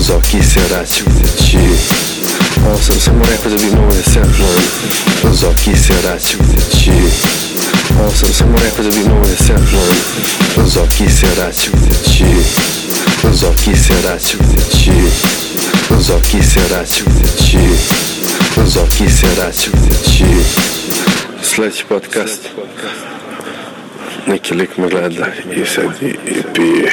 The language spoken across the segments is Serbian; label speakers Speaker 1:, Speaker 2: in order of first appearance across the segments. Speaker 1: só que será se vestir. Nossa, essa mulher coisa de novo né, esse ano. Só que será se vestir. Nossa, essa mulher coisa de novo né, esse ano. Só que será se vestir. Só que será se vestir. Só que será se vestir. Só que será se vestir. Sledeći podcast. Neki lik me gleda i sad i, i pije.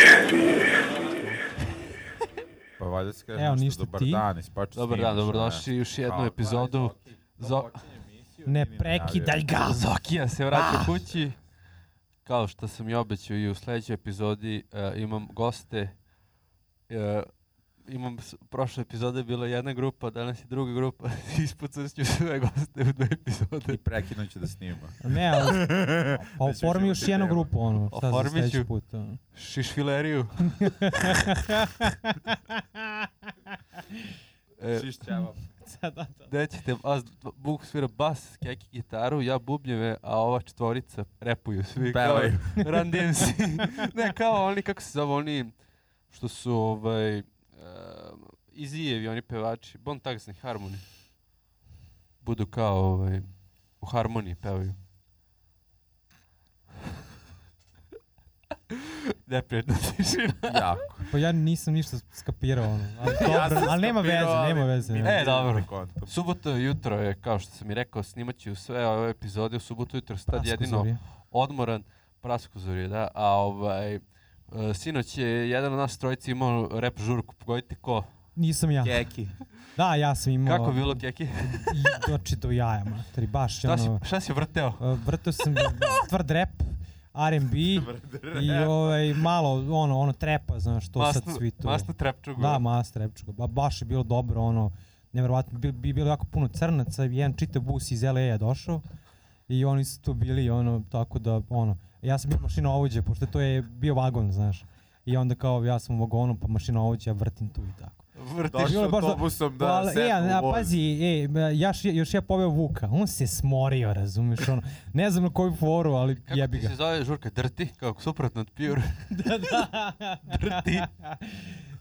Speaker 2: Pa valjda se kaže
Speaker 3: Evo,
Speaker 2: nešto,
Speaker 3: ništa
Speaker 2: dobar
Speaker 3: ti.
Speaker 2: dan, ispaču
Speaker 4: Dobar dan, dobrodošli u još jednu epizodu. Zo-
Speaker 3: Ne prekidaj ga.
Speaker 4: Zokija se vraća kući. Kao što sam i obećao i u sledećoj epizodi e, imam goste. E, imam, s- prošle epizode je bila jedna grupa, danas je druga grupa. Ispucao ću sve goste u dve epizode.
Speaker 2: I prekinut ću da snima.
Speaker 3: Ne, ali, pa
Speaker 2: Mislim,
Speaker 3: oformi još
Speaker 2: mislim,
Speaker 3: jednu
Speaker 2: nema.
Speaker 3: grupu, ono, sad za
Speaker 4: Oformit
Speaker 3: sledeći
Speaker 4: ću.
Speaker 3: put. ono.
Speaker 4: Šišfileriju. E,
Speaker 2: Čišćava.
Speaker 3: Sad, da, da.
Speaker 4: Gde ćete, vas, Buk svira bas, keki gitaru, ja bubnjeve, a ova četvorica repuju svi. kao
Speaker 2: Pevaju.
Speaker 4: Run DMC. ne, kao oni, kako se zove, oni što su, ovaj, uh, Izijevi, oni pevači, Bon Taxi Harmony. Budu kao, ovaj, u harmoniji pevaju. Neprijatna tišina.
Speaker 2: Jako.
Speaker 3: Pa ja nisam ništa skapirao, ono. Ali, dobro,
Speaker 2: Ja sam
Speaker 3: ali nema veze,
Speaker 2: skapirao, ali
Speaker 3: nema veze. ono.
Speaker 2: mi
Speaker 3: nema
Speaker 4: E,
Speaker 3: veze.
Speaker 2: nije
Speaker 4: dobro.
Speaker 2: na kontu.
Speaker 4: Subota jutro je, kao što sam i rekao, snimaću sve ove epizode u subotu jutro, sad
Speaker 3: Prasko
Speaker 4: jedino
Speaker 3: zorje.
Speaker 4: odmoran, praskozor je, da, a ovaj, e, sinoć je jedan od nas trojici imao rep žurku, pogodite ko,
Speaker 3: Nisam ja.
Speaker 2: Keki.
Speaker 3: Da, ja sam imao.
Speaker 4: kako je bilo Keki,
Speaker 3: I doći do jaja, materi, baš,
Speaker 4: šta si,
Speaker 3: ono,
Speaker 4: šta si vrteo?
Speaker 3: uh, vrtao sam tvrd rap, R&B i ovaj, malo, ono, ono trepa, znaš, to sad svi tu.
Speaker 4: masnu trepčugu.
Speaker 3: Da, Master Repčuga. Ba, baš je bilo dobro, ono, nevjerovatno, bi, bi bilo jako puno crnaca, jedan čitav bus iz LA je došao i oni su tu bili, ono, tako da, ono, ja sam bio mašina ovođe, pošto to je bio vagon, znaš. I onda kao ja sam u vagonu, pa mašina ovođe, ja vrtim tu i tako.
Speaker 4: Vrtiš.
Speaker 3: Bilo
Speaker 2: Došao
Speaker 3: je baš do-
Speaker 2: autobusom da
Speaker 3: Ali, e,
Speaker 2: sednu
Speaker 3: a,
Speaker 2: u voz.
Speaker 3: pazi, e, ma, ja, š- još ja poveo Vuka, on se smorio, razumiješ, ono, ne znam na koju foru, ali
Speaker 4: Kako
Speaker 3: jebi
Speaker 4: ti
Speaker 3: ga.
Speaker 4: se zove žurka? Drti, kao suprotno od Pure. Drti.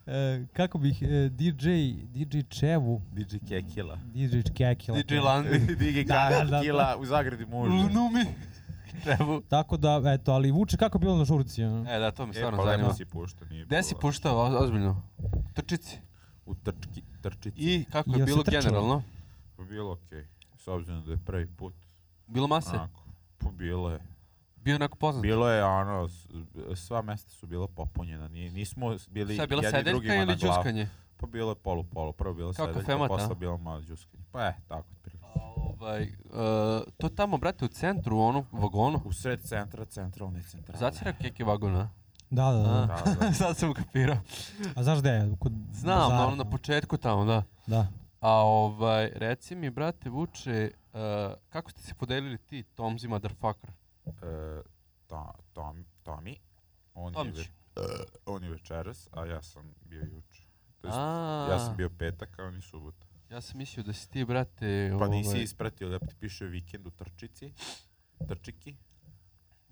Speaker 3: E, kako bih, e, DJ, DJ Čevu,
Speaker 2: DJ Kekila.
Speaker 3: DJ Kekila.
Speaker 4: DJ Landi.
Speaker 2: DJ
Speaker 3: Da, da, da, da.
Speaker 2: Kekila u Zagradi muž.
Speaker 4: Lunumi. Trebu.
Speaker 3: Tako da, eto, ali vuče kako je bilo na žurci. ono.
Speaker 4: E, da, to mi
Speaker 2: E,
Speaker 4: stvarno
Speaker 2: pa
Speaker 4: zanima.
Speaker 2: lemo si pušta, nije
Speaker 4: Gde si
Speaker 2: bilo.
Speaker 4: puštao, oz- ozbiljno? Trčici.
Speaker 2: U trčki, trčici.
Speaker 4: I kako
Speaker 3: Jel
Speaker 4: je
Speaker 3: se
Speaker 4: bilo
Speaker 3: trčalo?
Speaker 4: generalno?
Speaker 2: Bilo okej. S obzirom da je prvi put.
Speaker 4: Bilo mase?
Speaker 2: Onako. Pa bilo je.
Speaker 4: Bio onako poznat?
Speaker 2: Bilo je ono, s- sva mesta su bila popunjena. Nije, nismo bili
Speaker 4: Šta je bila
Speaker 2: jedni
Speaker 4: sedeljka
Speaker 2: drugima na
Speaker 4: ili
Speaker 2: glavu.
Speaker 4: džuskanje?
Speaker 2: Pa bilo je polu polu, prvo bilo
Speaker 4: Kao
Speaker 2: sedeljka,
Speaker 4: kafemata,
Speaker 2: posle
Speaker 4: a?
Speaker 2: bilo malo džuskanje. Pa je, tako otprilike.
Speaker 4: Ovaj, e, to tamo, brate, u centru, u onom vagonu.
Speaker 2: U sred centra, centralni centar.
Speaker 4: Zacira keke vagona.
Speaker 3: Da, da, da.
Speaker 4: A.
Speaker 2: Da, da.
Speaker 4: Sad sam ukapirao.
Speaker 3: A znaš gde je? Kod
Speaker 4: Znam,
Speaker 3: bazara,
Speaker 4: ono na početku tamo, da.
Speaker 3: Da.
Speaker 4: A ovaj, reci mi, brate, Vuče, e, kako ste se podelili ti, Tomzi Motherfucker?
Speaker 2: E, to, tom, Tomi, on je,
Speaker 4: Tomić.
Speaker 2: ve, e, on je večeras, a ja sam bio juče. To jest,
Speaker 4: A,
Speaker 2: ja sam bio petak, a on je subota.
Speaker 4: ja sam mislio da si ti, brate,
Speaker 2: Pa
Speaker 4: ovaj,
Speaker 2: nisi ispratio, da ti piše vikend u trčici, trčiki,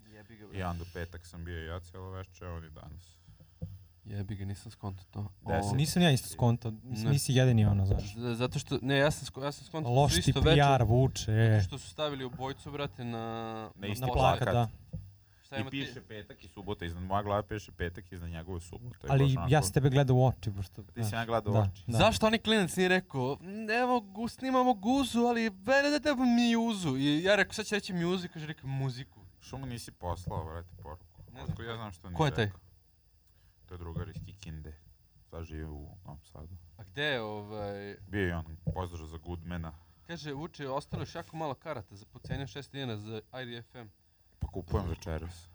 Speaker 4: Jebi ga,
Speaker 2: i onda u petak sam bio ja cijelo večer, a on je danas.
Speaker 4: Jebi ga, nisam skonto to.
Speaker 2: Deset.
Speaker 4: Ovo-
Speaker 3: Nisam ja isto skonto, mislim,
Speaker 4: Ne.
Speaker 3: nisi jedini ono, znaš.
Speaker 4: Z- Zato što, ne, ja sam, sko- ja sam skonto
Speaker 3: Loš ti PR vuče, e.
Speaker 4: što su stavili u bojcu, brate, na...
Speaker 2: Na isti
Speaker 3: Na
Speaker 2: plakat.
Speaker 3: plakat, da.
Speaker 4: Šta ima
Speaker 2: I piše petak i subota, iznad moja glava piše petak iznad njegove subote.
Speaker 3: Ali ja sam tebe gledao u oči, pošto...
Speaker 2: Ti si
Speaker 3: da.
Speaker 2: ja gledao
Speaker 3: Da.
Speaker 2: u oči.
Speaker 3: Da.
Speaker 4: Zašto onaj klinac nije rekao, "Mm, evo, gu- snimamo guzu, ali vene da tebe miuzu. I ja rekao, sad će reći music, kaže rekao muziku.
Speaker 2: Što mu nisi poslao, vrati poruku.
Speaker 4: Ne znam
Speaker 2: Otko ja znam što nije
Speaker 4: Ko je taj?
Speaker 2: rekao. To je drugar iz Kikinde. Sad živi u Novom Sadu.
Speaker 4: A gde je, ovaj,
Speaker 2: Bio je on pozdrav za Goodmana.
Speaker 4: kaže, uče, ostalo je još jako malo karata za pocenje 6 dinara za IDFM.
Speaker 2: Pa kupujem večeras.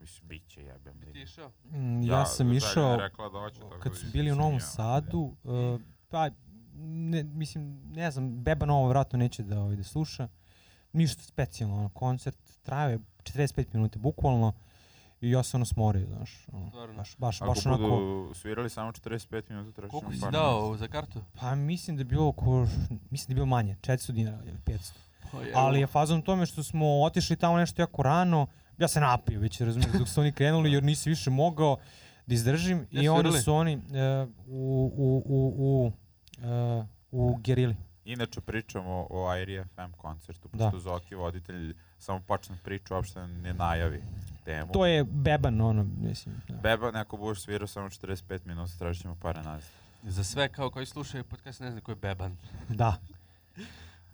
Speaker 2: Mislim, bit će jebem.
Speaker 4: Bi ti
Speaker 2: li.
Speaker 4: išao?
Speaker 3: Mm, Ja, sam
Speaker 2: Zagrebu je
Speaker 3: išao,
Speaker 2: rekla da hoće, tako
Speaker 3: kad
Speaker 2: da
Speaker 3: su bili u
Speaker 2: nisam
Speaker 3: Novom
Speaker 2: ja.
Speaker 3: Sadu, uh, pa, ne, mislim, ne znam, Beba Novo vratno neće da, ovaj, da sluša. Ništa specijalno, ono, koncert trajao je 45 minuta, bukvalno, i ja se ono smorio, znaš. Ono,
Speaker 4: Stvarno.
Speaker 3: baš, baš,
Speaker 2: Ako
Speaker 3: baš
Speaker 2: budu
Speaker 3: onako...
Speaker 2: svirali samo 45 minuta, treći
Speaker 4: Koliko si dao za kartu?
Speaker 3: Pa mislim da je bilo oko, mislim da je bilo manje, 400 dinara ili 500.
Speaker 4: O, jevo.
Speaker 3: Ali je fazon u tome što smo otišli tamo nešto jako rano, ja se napio već, razumiješ, dok su oni krenuli jer nisi više mogao. da izdržim
Speaker 4: Gde
Speaker 3: i
Speaker 4: su
Speaker 3: onda
Speaker 4: svirali?
Speaker 3: su oni e, u, u, u, u, e, u Gerili.
Speaker 2: Inače pričamo o Airi FM koncertu,
Speaker 3: Da.
Speaker 2: pošto Zoki voditelj samo počne priču, uopšte ne najavi temu.
Speaker 3: To je beban, ono, mislim. Da.
Speaker 2: Beba, neko budeš svirao samo 45 minuta, tražit ćemo pare nazad.
Speaker 4: Za sve kao koji slušaju podcast ne znam ko je Beban
Speaker 3: da.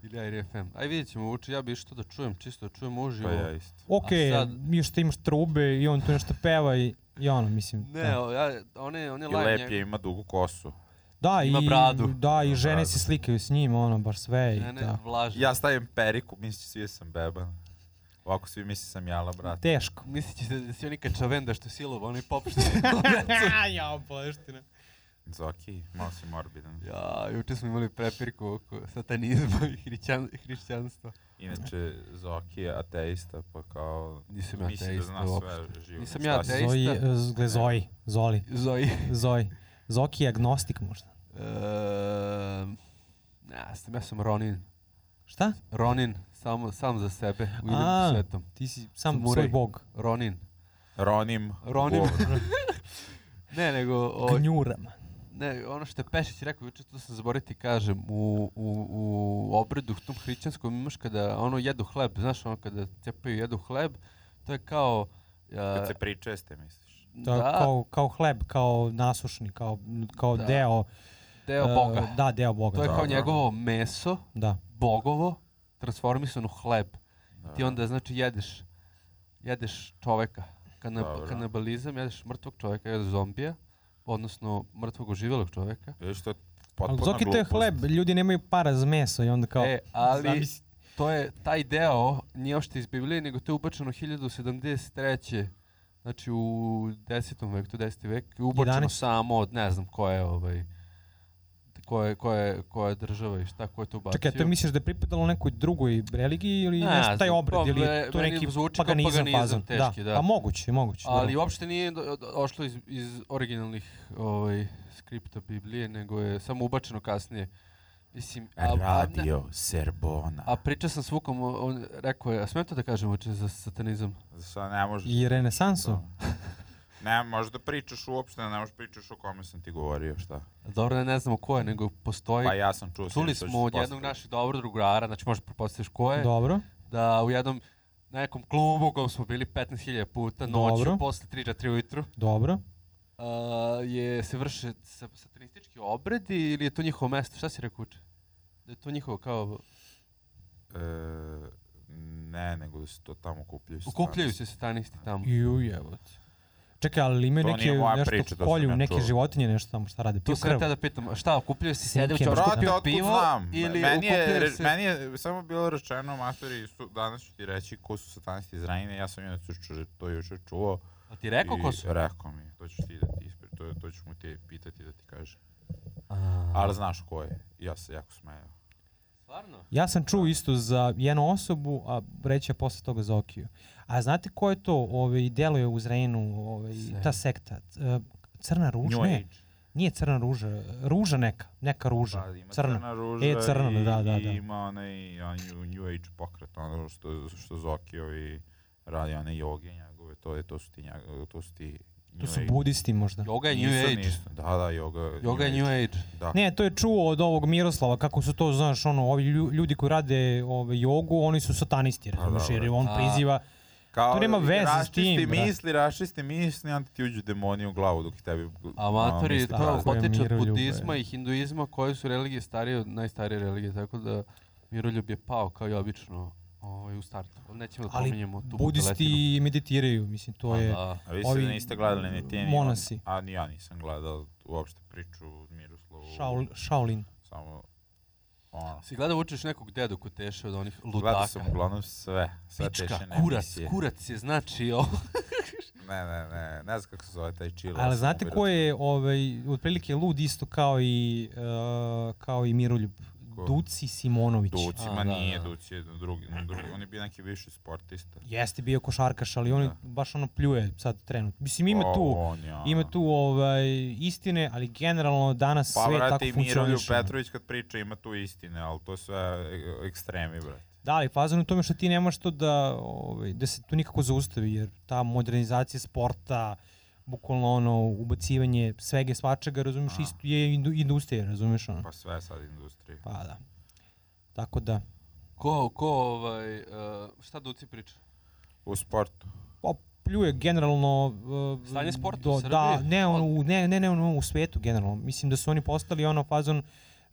Speaker 4: ili IRFM. Aj vidjet ćemo uči, ja bi išao da čujem, čisto da čujem uživo.
Speaker 2: Pa ja isto.
Speaker 3: Ok,
Speaker 4: A sad-
Speaker 3: još ti imaš trube i on tu nešto peva i, i ono, mislim.
Speaker 4: Ne,
Speaker 3: da.
Speaker 4: o, ja, on je, on je
Speaker 2: I
Speaker 4: live
Speaker 2: lep je,
Speaker 4: njegov.
Speaker 2: ima dugu kosu.
Speaker 3: Da,
Speaker 4: Ima
Speaker 3: i,
Speaker 4: bradu.
Speaker 3: Da, i
Speaker 2: Ima
Speaker 3: žene
Speaker 2: bradu.
Speaker 3: se slikaju s njim, ono, baš sve.
Speaker 4: Ne,
Speaker 3: i
Speaker 4: ne,
Speaker 3: da.
Speaker 4: vlažan.
Speaker 2: Ja stavim periku, misli svi da sam beban. Ovako svi misli sam jala, brate.
Speaker 3: Teško.
Speaker 4: Mislit će se da si onika čavenda što je silovo, onaj pop što je silovao decu.
Speaker 3: Jao, boleština.
Speaker 2: Zoki, malo si morbidan.
Speaker 4: Ja, juče smo imali prepirku oko satanizma i hrićan, hrišćanstva.
Speaker 2: Inače, Zoki je ateista, pa kao...
Speaker 4: Nisam ja
Speaker 2: Mislim da
Speaker 4: ateista
Speaker 2: zna
Speaker 4: uopšte.
Speaker 2: sve živo.
Speaker 4: Nisam
Speaker 2: Šta
Speaker 4: ja
Speaker 2: si-
Speaker 4: ateista.
Speaker 3: Zoji, e, gle, Zoji, Zoli,
Speaker 4: Zoji.
Speaker 3: Zoji. Zoki je agnostik možda.
Speaker 4: Ehm, ja, sam, ja sam Ronin.
Speaker 3: Šta?
Speaker 4: Ronin, samo, sam za sebe, u
Speaker 3: A.
Speaker 4: idem svetom.
Speaker 3: Ti si sam
Speaker 4: Samuraj.
Speaker 3: svoj bog.
Speaker 4: Ronin.
Speaker 2: Ronim.
Speaker 4: Ronim.
Speaker 2: Bog.
Speaker 4: Ne, nego, o,
Speaker 3: Gnjuram.
Speaker 4: ne, ono što je Pešić rekao, juče to sam zaboravio ti kažem, u, u, u obredu tom hrićanskom imaš kada ono jedu hleb, znaš ono kada cepaju jedu hleb, to je kao... a,
Speaker 2: Kad se pričeste, misliš.
Speaker 3: To je
Speaker 4: da,
Speaker 3: kao, kao hleb, kao nasušni, kao, kao
Speaker 4: Da.
Speaker 3: deo...
Speaker 4: deo
Speaker 3: e,
Speaker 4: Boga.
Speaker 3: Da, deo Boga.
Speaker 4: To je
Speaker 2: Da,
Speaker 4: kao
Speaker 2: da.
Speaker 4: njegovo meso,
Speaker 3: Da.
Speaker 4: bogovo, transformisano u hleb.
Speaker 2: Da.
Speaker 4: Ti onda, znači, jedeš, jedeš čoveka. Kana,
Speaker 2: Dobro.
Speaker 4: kanabalizam, jedeš mrtvog čoveka, jedeš zombija, odnosno mrtvog oživelog čoveka.
Speaker 2: Vidiš to je
Speaker 4: pa
Speaker 3: Ali
Speaker 2: potpuno
Speaker 3: Zoki to je
Speaker 2: glupost.
Speaker 3: hleb, ljudi nemaju para za meso i onda kao...
Speaker 4: e, ali
Speaker 3: Zamisli.
Speaker 4: to je, taj deo nije ošte iz Biblije, nego to je ubačeno 1073. Znači u 10. veku, to je 10. vek, i
Speaker 3: 11.
Speaker 4: ubačeno samo od ne znam ko je ovaj, ko je, ko je, ko je država i šta, ko je to ubacio.
Speaker 3: Čekaj, a to misliš da je pripadalo nekoj drugoj religiji ili
Speaker 4: pa Ne,
Speaker 3: nešto taj
Speaker 4: znam,
Speaker 3: obred
Speaker 4: pa
Speaker 3: ili
Speaker 4: me-
Speaker 3: to
Speaker 4: meni
Speaker 3: neki
Speaker 4: zvuči kao
Speaker 3: paganizam,
Speaker 4: paganizam
Speaker 3: fazon?
Speaker 4: teški, da.
Speaker 3: A moguće, moguće.
Speaker 2: Znači,
Speaker 4: Ali
Speaker 3: da.
Speaker 4: uopšte nije do- do- došlo iz, iz originalnih ovaj, skripta Biblije, nego je samo ubačeno kasnije. Mislim, a, a, ne-
Speaker 2: Radio Serbona.
Speaker 4: a pričao sam s Vukom, o- on rekao je, a smem to da kažem uče za satanizam?
Speaker 2: Sada ne možeš.
Speaker 3: I renesansu?
Speaker 2: Ne, možeš da pričaš uopšte, ne možeš pričaš o kome sam ti govorio, šta?
Speaker 4: Dobro, ne, ne znamo ko je, nego postoji...
Speaker 2: Pa ja sam čuo...
Speaker 4: Čuli
Speaker 2: sinoć, to ću
Speaker 4: smo od jednog
Speaker 2: postaviti.
Speaker 4: naših dobrog drugara, znači možeš pretpostaviti ko je,
Speaker 3: Dobro.
Speaker 4: da u jednom nekom klubu u kojem smo bili 15.000 puta noću,
Speaker 3: Dobro.
Speaker 4: posle 3-4 ujutru,
Speaker 3: Dobro.
Speaker 4: a, je se vrše sa- satanistički obredi ili je to njihovo mesto? Šta si rekao uče? Da je to njihovo kao...
Speaker 2: E, ne, nego da se to tamo kupljaju.
Speaker 4: Okupljaju
Speaker 2: stanovi.
Speaker 4: se satanisti tamo.
Speaker 3: Ju, jebote. Čekaj, ali imaju
Speaker 2: To
Speaker 3: neke,
Speaker 2: nije moja
Speaker 3: nešto
Speaker 2: priča, to sam
Speaker 3: kolju,
Speaker 2: ja
Speaker 3: neke
Speaker 2: čuo.
Speaker 3: životinje, nešto tamo šta rade.
Speaker 4: To
Speaker 3: Piju
Speaker 4: sam ja
Speaker 3: krv.
Speaker 4: te da pitam, a šta, okupljaju se, sede u
Speaker 3: Sinke,
Speaker 4: čošku,
Speaker 3: brate,
Speaker 4: piju
Speaker 2: Brate, otkud
Speaker 4: pivo
Speaker 2: znam?
Speaker 4: ili
Speaker 2: meni, je,
Speaker 4: okupljaju
Speaker 2: re-
Speaker 4: se...
Speaker 2: meni je samo bilo rečeno, matori, su, danas ću ti reći ko su satanisti iz Ranine, ja sam inače ču- to juče čuo.
Speaker 4: A ti rekao
Speaker 2: i
Speaker 4: ko su?
Speaker 2: Rekao mi, je, to ću ti da ti ispri, to, to ću mu ti pitati da ti kaže.
Speaker 4: A,
Speaker 2: Ali znaš ko je, ja se jako smejao.
Speaker 4: stvarno?
Speaker 3: Ja sam čuo isto za jednu osobu, a reći je posle toga za Okiju. A znate ko je to, ovaj, deluje u Zrenu, ovaj,
Speaker 4: Sve.
Speaker 3: ta sekta? C- e, Crna ruža?
Speaker 2: New
Speaker 3: Ne,
Speaker 2: Age.
Speaker 3: nije crna ruža, ruža neka, neka ruža,
Speaker 2: Da, Pa, ima
Speaker 3: crna.
Speaker 2: ruža
Speaker 3: E, crna,
Speaker 2: i,
Speaker 3: da, da, da.
Speaker 2: i ima onaj onaj new- New Age pokret, ono što, što Zoki ovi radi, one joge njegove, to, je, to su ti, njeg, to su ti
Speaker 3: To
Speaker 2: New
Speaker 3: su
Speaker 2: Age.
Speaker 3: budisti možda.
Speaker 4: Yoga je
Speaker 2: Nisu,
Speaker 4: New Age.
Speaker 2: nisu. Da, da, yoga,
Speaker 4: Yoga je New Age.
Speaker 2: Da.
Speaker 3: Ne, to je čuo od ovog Miroslava, kako su to, znaš, ono, ovi lju- ljudi koji rade ove, jogu, oni su satanisti, razumiješ,
Speaker 2: Pa, dobro.
Speaker 3: jer on
Speaker 4: A.
Speaker 3: priziva,
Speaker 2: Kao,
Speaker 3: To nema veze s
Speaker 2: raščisti
Speaker 3: tim, brate.
Speaker 2: misli, rašisti misli, onda ti uđu demoni u glavu dok tebi... ono,
Speaker 4: Amatori,
Speaker 2: misli
Speaker 4: to
Speaker 3: tako je,
Speaker 4: potiče od
Speaker 3: miroljube.
Speaker 4: budizma i hinduizma, koje su religije starije od najstarije religije, tako da miroljub je pao kao i obično ovaj, u startu. Nećemo da
Speaker 3: ali
Speaker 4: pominjemo tu budaletinu.
Speaker 3: budisti meditiraju, mislim, to
Speaker 2: Pa,
Speaker 4: A
Speaker 3: je...
Speaker 4: da.
Speaker 2: A vi se
Speaker 3: Ovi
Speaker 2: niste gledali ni ti, ni on.
Speaker 3: monasi.
Speaker 2: A ni ja nisam gledao uopšte priču Miroslavu.
Speaker 3: Shaol, Shaolin.
Speaker 2: Samo ono.
Speaker 4: Si gledao učiš nekog dedu ko teše od onih
Speaker 2: Gledao
Speaker 4: ludaka?
Speaker 2: sam uglavnom sve. Sve
Speaker 4: Pička,
Speaker 2: tešene
Speaker 4: kurac,
Speaker 2: emisije.
Speaker 4: kurac je znači ovo.
Speaker 2: Ne, ne, ne, ne znam kako se zove taj čilo.
Speaker 3: Ali znate ko je, ovaj, otprilike lud isto kao i, e, kao i Miroljub?
Speaker 2: Ko?
Speaker 3: Duci Simonović.
Speaker 2: Duci,
Speaker 4: A,
Speaker 2: ma
Speaker 4: da,
Speaker 2: nije
Speaker 4: da.
Speaker 2: Duci, je drugi, drugi. On je bio neki viši sportista.
Speaker 3: Jeste bio košarkaš, ali on je
Speaker 2: Da.
Speaker 3: baš ono pljuje sad trenutno. Mislim, ima
Speaker 2: O,
Speaker 3: tu,
Speaker 2: on je, ono.
Speaker 3: ima tu ovaj, istine, ali generalno danas
Speaker 2: Pa,
Speaker 3: sve
Speaker 2: brate,
Speaker 3: tako
Speaker 2: i Miroljub
Speaker 3: funkcioniše.
Speaker 2: Petrović kad priča ima tu istine, ali to sve e, ekstremi, brate.
Speaker 3: Da, ali fazon je u tome što ti nemaš to da, ovaj, da se tu nikako zaustavi, jer ta modernizacija sporta, bukvalno ono ubacivanje svega i svačega, razumeš,
Speaker 2: A.
Speaker 3: isto je indu- industrija, razumeš ono.
Speaker 2: Pa sve sad industrija.
Speaker 3: Pa da. Tako da,
Speaker 4: Ko, ko ovaj, e, šta Duci priča?
Speaker 2: U sportu.
Speaker 3: pa pljuje generalno uh,
Speaker 4: Stanje sporta u Srbiji?
Speaker 3: da, ne, ono, u- ne, ne, ne, ono, u svetu generalno. Mislim da su oni postali ono fazon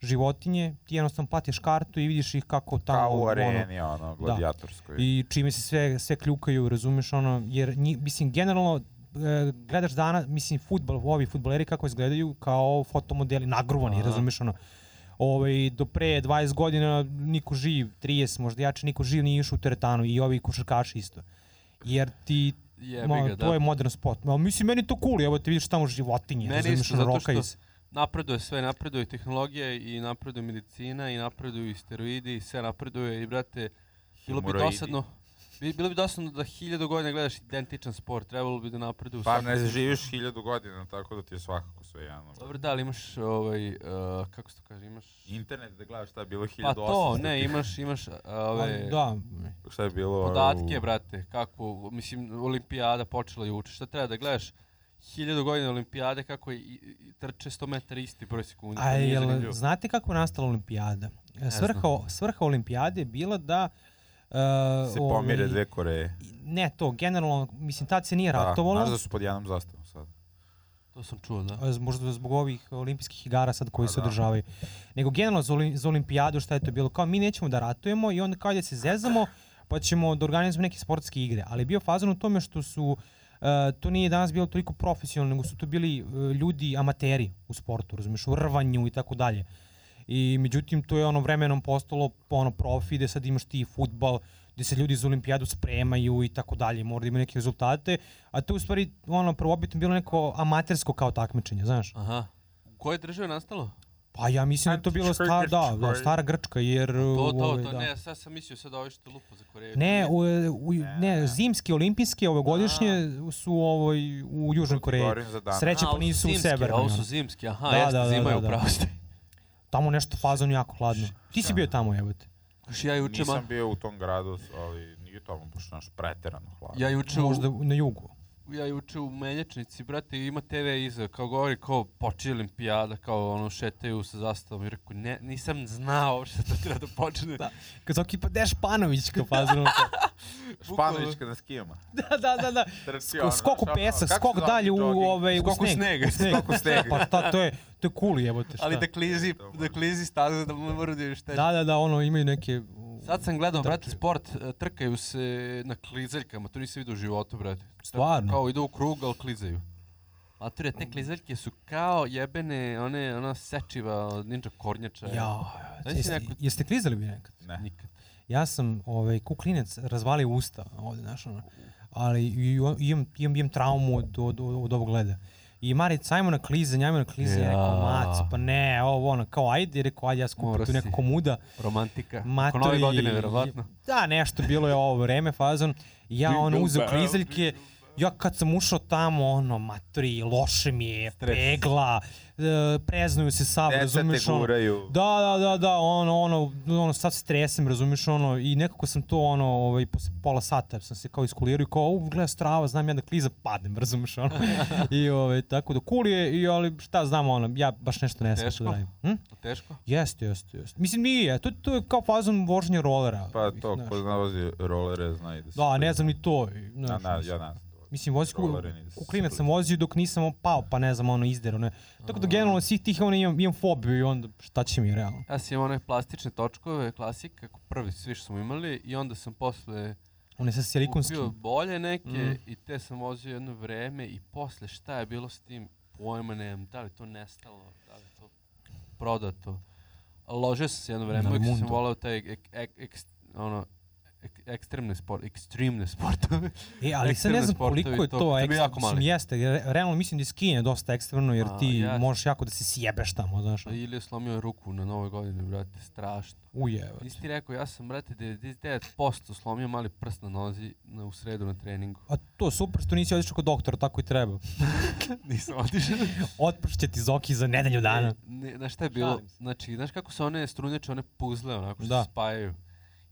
Speaker 3: životinje, ti jednostavno platiš kartu i vidiš ih kako tamo
Speaker 2: Kao u
Speaker 3: ono,
Speaker 2: areni, ono, gladijatorskoj.
Speaker 3: i čime se sve, sve kljukaju, razumeš, ono, jer, nji, mislim, generalno, e, gledaš dana, mislim, futbol, ovi futboleri kako izgledaju kao fotomodeli, nagruvani,
Speaker 4: Aha.
Speaker 3: razumeš, ono, ovaj, do pre 20 godina niko živ, 30, možda jače, niko živ nije išao u teretanu i ovi košarkaši isto. Jer ti,
Speaker 4: Jebi
Speaker 3: ma,
Speaker 4: ga,
Speaker 3: to je
Speaker 4: da.
Speaker 3: modern spot. Ma, mislim, meni je to cool, evo te vidiš tamo životinje,
Speaker 4: Meni
Speaker 3: razumeš,
Speaker 4: isto,
Speaker 3: ono,
Speaker 4: zato
Speaker 3: rokaju
Speaker 4: što-
Speaker 3: se.
Speaker 4: Napreduje sve, napreduje i tehnologija i napreduje medicina i napreduju i steroidi i sve napreduje i brate, bilo bi
Speaker 2: Hemoroidi.
Speaker 4: dosadno. bi- Bilo bi dosadno da hiljadu godina gledaš identičan sport, trebalo bi da napreduju. u
Speaker 2: Pa
Speaker 4: svakom
Speaker 2: ne živiš hiljadu godina, tako da ti je svakako sve jedno.
Speaker 4: Dobro, da, ali imaš, ovaj, uh, kako se to kaže, imaš...
Speaker 2: Internet da gledaš šta je bilo 1800.
Speaker 4: Pa to, ne, imaš, imaš uh, ove
Speaker 3: Ali, da,
Speaker 2: Šta je bilo...
Speaker 4: podatke, brate, kako, mislim, olimpijada počela juče, šta treba da gledaš? hiljadu godina olimpijade kako je, i- i trče 100 metara isti broj sekundi.
Speaker 3: A
Speaker 4: to nije
Speaker 3: jel,
Speaker 4: zanimljivo.
Speaker 3: znate kako je nastala olimpijada?
Speaker 4: Ne
Speaker 3: Svrha, svrha olimpijade je bila da... Uh,
Speaker 2: Se pomire dve Koreje.
Speaker 3: Ne, to, generalno, mislim, tad se nije
Speaker 2: Da,
Speaker 3: ratovalo. e,
Speaker 2: Znaš da su pod jednom zastavom sad.
Speaker 4: To sam čuo, da.
Speaker 3: z- možda zbog ovih olimpijskih igara sad koji
Speaker 2: Pa
Speaker 3: se
Speaker 2: da.
Speaker 3: održavaju. Nego generalno za, oli, za olimpijadu šta je to bilo? Kao mi nećemo da ratujemo i onda kao da se zezamo pa ćemo da organizujemo neke sportske igre. Ali je bio fazon u tome što su e, to nije danas bilo toliko profesionalno, nego su to bili e, ljudi amateri u sportu, razumiješ, u rvanju i tako dalje. I međutim, to je ono vremenom postalo ono profi, gde sad imaš ti futbal, gde se ljudi za olimpijadu spremaju i tako dalje, mora da imaju neke rezultate, a to je u stvari ono prvobitno bilo neko amatersko kao takmičenje, znaš?
Speaker 4: Aha. U kojoj državi je nastalo?
Speaker 3: Pa ja mislim da je to bilo
Speaker 2: Antička
Speaker 3: star, da, da,
Speaker 2: Grčka.
Speaker 3: stara Grčka, jer...
Speaker 4: To, to,
Speaker 3: ovaj,
Speaker 4: to,
Speaker 3: da.
Speaker 4: ne, sad sam mislio sad ovi što lupu za Koreju.
Speaker 3: Ne, u, u,
Speaker 2: ne.
Speaker 3: ne, zimski, olimpijski, ovogodišnje su ovaj, u Južnoj Koreji.
Speaker 2: Govorim za danas.
Speaker 3: Sreće
Speaker 4: A,
Speaker 3: pa
Speaker 4: ovo su
Speaker 3: nisu u
Speaker 4: zimski,
Speaker 3: Severnoj.
Speaker 4: Ovo su
Speaker 3: ono.
Speaker 4: zimski, aha,
Speaker 3: Da,
Speaker 4: jeste,
Speaker 3: da, da,
Speaker 4: zima je
Speaker 3: da,
Speaker 4: u
Speaker 3: da.
Speaker 4: pravu ste.
Speaker 3: Tamo nešto fazon jako hladno. Ti si bio tamo, jebote.
Speaker 4: Još ja juče, ma,
Speaker 2: Nisam bio u tom gradu, ali nije tamo baš naš preterano hladno.
Speaker 4: ja juče,
Speaker 3: Možda
Speaker 4: u,
Speaker 3: na jugu.
Speaker 4: ja juče u Menjačnici, brate, ima TV iza, kao govori, kao počinje olimpijada, kao ono, šetaju sa zastavom, i rekao, ne, nisam znao šta to treba da počne.
Speaker 3: Da. Kad svaki pa Deš Panović kao fazonu.
Speaker 2: Španović kada skijama.
Speaker 3: da, da, da, da.
Speaker 2: Trči ono,
Speaker 3: Sk skok u
Speaker 2: šta-
Speaker 3: pesak,
Speaker 2: kako
Speaker 3: skok
Speaker 2: se zove
Speaker 3: dalje u,
Speaker 2: jogging?
Speaker 3: ovaj, u
Speaker 4: Skok u
Speaker 3: sneg.
Speaker 4: sneg.
Speaker 2: Skok u sneg.
Speaker 3: Pa ta, to je, to je cool jebote. Šta?
Speaker 4: Ali da klizi,
Speaker 2: To
Speaker 4: da
Speaker 2: može.
Speaker 4: klizi staza, da mu mora da joj šteti.
Speaker 3: da, da, da, ono imaju neke...
Speaker 4: Sad sam gledao, brate, sport, e, trkaju se na klizaljkama, to nisam vidio u životu, brate.
Speaker 3: Stvarno?
Speaker 4: Kao idu u krug, ali klizaju. Mature, te klizaljke su kao jebene, one, ona sečiva od ninja kornjača.
Speaker 3: Ja,
Speaker 4: Znaš
Speaker 3: jeste,
Speaker 4: neko-
Speaker 3: jeste klizali bi nekad?
Speaker 2: Ne.
Speaker 4: Nikad.
Speaker 3: Ja sam ovaj, kuklinec razvalio usta ovde, znaš, ono, ali i- i- imam, imam, imam traumu od, od, od ovog gleda. I Maric, ajmo na klizanje, ajmo na klizanje, ja. rekao,
Speaker 4: Ja.
Speaker 3: maco, pa ne, ovo, ono, kao, ajde, rekao, ajde, ja skupim
Speaker 4: Morao
Speaker 3: tu
Speaker 4: si.
Speaker 3: nekako muda.
Speaker 4: Romantika. Matori...
Speaker 3: Matori,
Speaker 4: Oko nove godine, verovatno.
Speaker 3: Da, nešto bilo je ovo vreme fazon. Ja ono uzeo klizaljke, ja kad sam ušao tamo, ono, matri, loše mi je, pegla, e, preznuju se sav,
Speaker 2: Deca
Speaker 3: razumeš
Speaker 2: te
Speaker 3: ono.
Speaker 2: guraju.
Speaker 3: Da, da, da, da, ono, ono, ono, sad stresem, razumeš, ono, i nekako sam to, ono, ovaj, posle pola sata sam se kao iskulirao i kao, u, gleda strava, znam ja da kliza, padnem, razumeš, ono. I, ovaj, tako da, cool je, i, ali, šta znam, ono, ja baš nešto ne znam što
Speaker 4: Teško?
Speaker 3: da radim. Hm?
Speaker 4: Teško?
Speaker 3: Jeste, jeste, jeste. Mislim nije, to, to je kao fazon vožnje rolera.
Speaker 2: Pa
Speaker 3: Mislim,
Speaker 2: to,
Speaker 3: znaš.
Speaker 2: ko zna vozi rolere, zna i da se...
Speaker 3: Da, ne znam ni to. i,
Speaker 2: Da,
Speaker 3: Znaš,
Speaker 2: da,
Speaker 3: mislim.
Speaker 2: ja ne znam.
Speaker 3: Mislim, vozi ku,
Speaker 2: Roleri nisu
Speaker 3: kuklinac sam vozio dok nisam pao, pa ne znam, ono, izdero, ne. Tako da generalno svih tih ono, imam, imam fobiju i onda šta će mi realno.
Speaker 4: Ja sam imao one plastične točkove, klasik, kako prvi svi što smo imali, i onda sam posle
Speaker 3: One sa
Speaker 4: kupio
Speaker 3: silikonskim.
Speaker 4: bolje neke
Speaker 3: Mhm.
Speaker 4: i te sam vozio jedno vreme i posle šta je bilo s tim, pojma nemam, da li to nestalo, da li to prodato. A Ložio sam se jedno vreme,
Speaker 3: Na
Speaker 4: uvijek sam
Speaker 3: Mundo.
Speaker 4: volao taj ek, ek, ek, ono, ek, ekstremne sport, ekstremne sportove.
Speaker 3: E, ali sad ne
Speaker 4: ekstremni
Speaker 3: znam koliko je
Speaker 4: sportovi,
Speaker 3: to, to
Speaker 4: to- to bi
Speaker 3: ekstra,
Speaker 4: jako
Speaker 3: mislim,
Speaker 4: mali.
Speaker 3: jeste, re- realno mislim da je skinje dosta ekstremno, jer
Speaker 4: A,
Speaker 3: ti
Speaker 4: jeste.
Speaker 3: možeš jako da se sjebeš tamo, znaš. ono.
Speaker 4: Ili je slomio ruku na novoj godini, brate, strašno.
Speaker 3: Uje,
Speaker 4: Nisi ti rekao, ja sam, brate, 99% slomio mali prst na nozi na, u sredu na treningu.
Speaker 3: A to super što nisi otišao kod doktora, tako i treba.
Speaker 4: Nisam otišao.
Speaker 3: Otpršće ti Zoki za nedelju dana.
Speaker 4: E, Ne, znaš šta je bilo?
Speaker 3: Šalim se.
Speaker 4: Znači, znaš kako se one strunjače, one puzle onako što
Speaker 3: Da.
Speaker 4: se spajaju?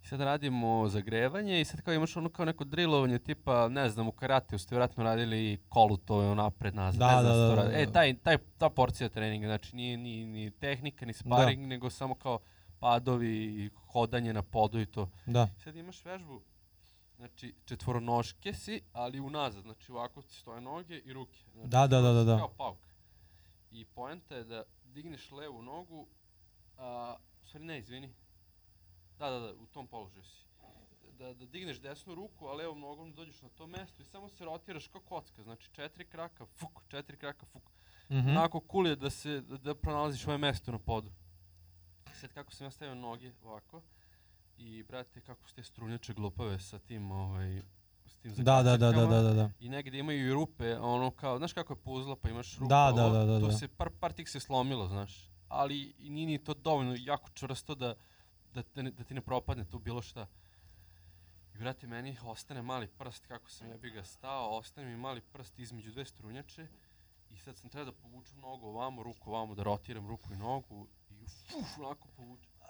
Speaker 4: I sad radimo zagrevanje i sad kao imaš ono kao neko drillovanje tipa, ne znam, u karateu ste vjerojatno radili i kolutove unapred ono nazad,
Speaker 3: Da,
Speaker 4: ne znam
Speaker 3: da,
Speaker 4: što
Speaker 3: da,
Speaker 4: radi.
Speaker 3: da,
Speaker 4: E,
Speaker 3: da.
Speaker 4: taj, taj, ta porcija treninga, znači nije ni, ni tehnika, ni sparing, nego samo kao padovi i hodanje na podu i to.
Speaker 3: Da.
Speaker 4: Sad imaš vežbu, znači četvoronoške si, ali unazad, znači ovako ti stoje noge i ruke. Znači,
Speaker 3: Da, da, da, da, da.
Speaker 4: Kao pauk. I poenta je da digneš levu nogu, a, u stvari ne, izvini. Da, da, da, u tom položaju si. Da, da digneš desnu ruku, a levom nogom dođeš na to mesto i samo se rotiraš kao kocka, znači četiri kraka, fuk, četiri kraka, fuk.
Speaker 3: Mhm.
Speaker 4: Onako cool je da, se, da, da pronalaziš svoje mesto na podu. Sad kako sam ja stavio noge ovako i brate kako ste strunjače glupave sa tim ovaj s tim
Speaker 3: Da, da, da, da,
Speaker 4: zakačetkama.
Speaker 3: da, da, da.
Speaker 4: I negdje imaju i rupe, ono kao, znaš kako je puzla, pa imaš rupa.
Speaker 3: Da, da,
Speaker 4: ovo,
Speaker 3: da, da,
Speaker 4: To
Speaker 3: da.
Speaker 4: se, par, par tih se slomilo, znaš. Ali i nije ni to dovoljno jako čvrsto da, da, te ne- da ti ne propadne tu bilo šta. I vrati, meni ostane mali prst, kako sam ja bi ga stao, ostane mi mali prst između dve strunjače. I sad sam trebao da povučem nogu ovamo, ruku ovamo, da rotiram ruku i nogu. I fuf, onako povučem. A,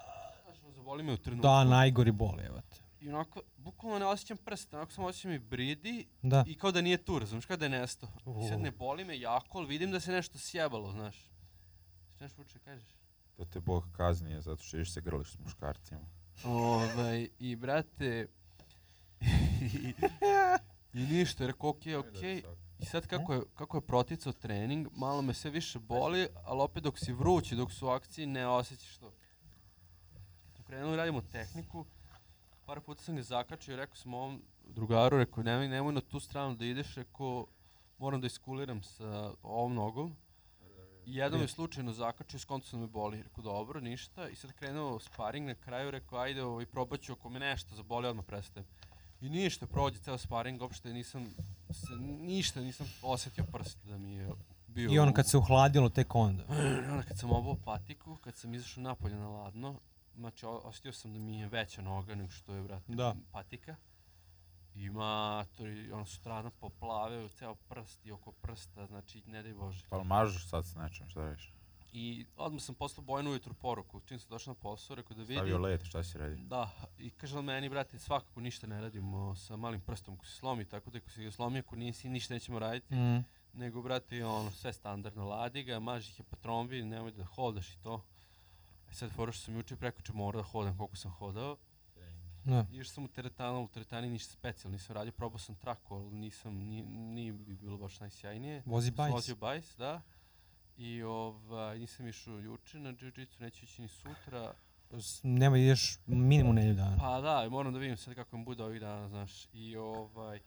Speaker 4: Znaš, ono, zaboli me u trenutku.
Speaker 3: Da, najgori bol, evo te.
Speaker 4: I onako, bukvalno ne osjećam prst, onako samo osjećam i bridi
Speaker 3: Da.
Speaker 4: i kao da nije tu, razumiješ, kao da je nesto. I sad
Speaker 3: U.
Speaker 4: ne boli me jako, ali vidim da se nešto sjebalo, znaš. Znaš vuče, kažeš?
Speaker 2: Da te Bog kazni zato što ideš se grliš s muškarcima.
Speaker 4: Ovaj, i brate... i, I ništa, rekao, okej, okej. I sad kako je, kako je proticao trening, malo me sve više boli, ali opet dok si vrući, dok su u akciji, ne osjećaš to. Krenuli radimo tehniku, par puta sam ga zakačio i rekao sam ovom drugaru, rekao nemoj, nemoj na tu stranu da ideš, rekao moram da iskuliram sa ovom nogom. I jednom je slučajno zakačio, skonto sam da me boli, rekao dobro, ništa. I sad krenuo sparing na kraju, rekao ajde ovaj, probat ću ako me nešto zaboli, odmah prestajem. I ništa, prođe ceo sparing, uopšte nisam, se, ništa nisam osetio prst da mi je bio...
Speaker 3: I ono
Speaker 4: u-
Speaker 3: kad se uhladilo tek onda.
Speaker 4: I onda kad sam obao patiku, kad sam izašao napolje na ladno, znači o- osjetio sam da mi je veća noga nego što je, brate,
Speaker 3: Da.
Speaker 4: patika. I matori, ono strana poplaveo ceo prst i oko prsta, znači ne daj Bože.
Speaker 2: Pa jel mažeš sad s nečim, šta radiš?
Speaker 4: I odmah sam poslao Bojanu ujutru poruku, čim sam došao na posao, rekao da vidi.
Speaker 2: Stavio led, šta si radi?
Speaker 4: Da, i kaže on meni, brate, svakako ništa ne radimo sa malim prstom ko se slomi, tako da ako se ga slomi, ako nisi, ništa nećemo raditi.
Speaker 3: Mm.
Speaker 4: Nego, brate, ono, sve standardno, ladi ga, maži ih je patrombi, nemoj da hodaš i to. E sad, fora što sam juče prekoče morao da hodam koliko sam hodao.
Speaker 3: Da.
Speaker 4: Išao sam u teretanu, u teretani ništa specijalno nisam radio, probao sam traku, ali nisam, ni, nije bi bilo baš najsjajnije.
Speaker 3: Vozi
Speaker 4: Sam
Speaker 3: bajs.
Speaker 4: Vozio bajs, da. I ovaj, nisam išao juče na jiu-jitsu, neću ići ni sutra.
Speaker 3: S- Nema ideš minimum nedelju dana.
Speaker 4: Pa da, i moram da vidim sad kako mi bude ovih dana, znaš. I ovaj,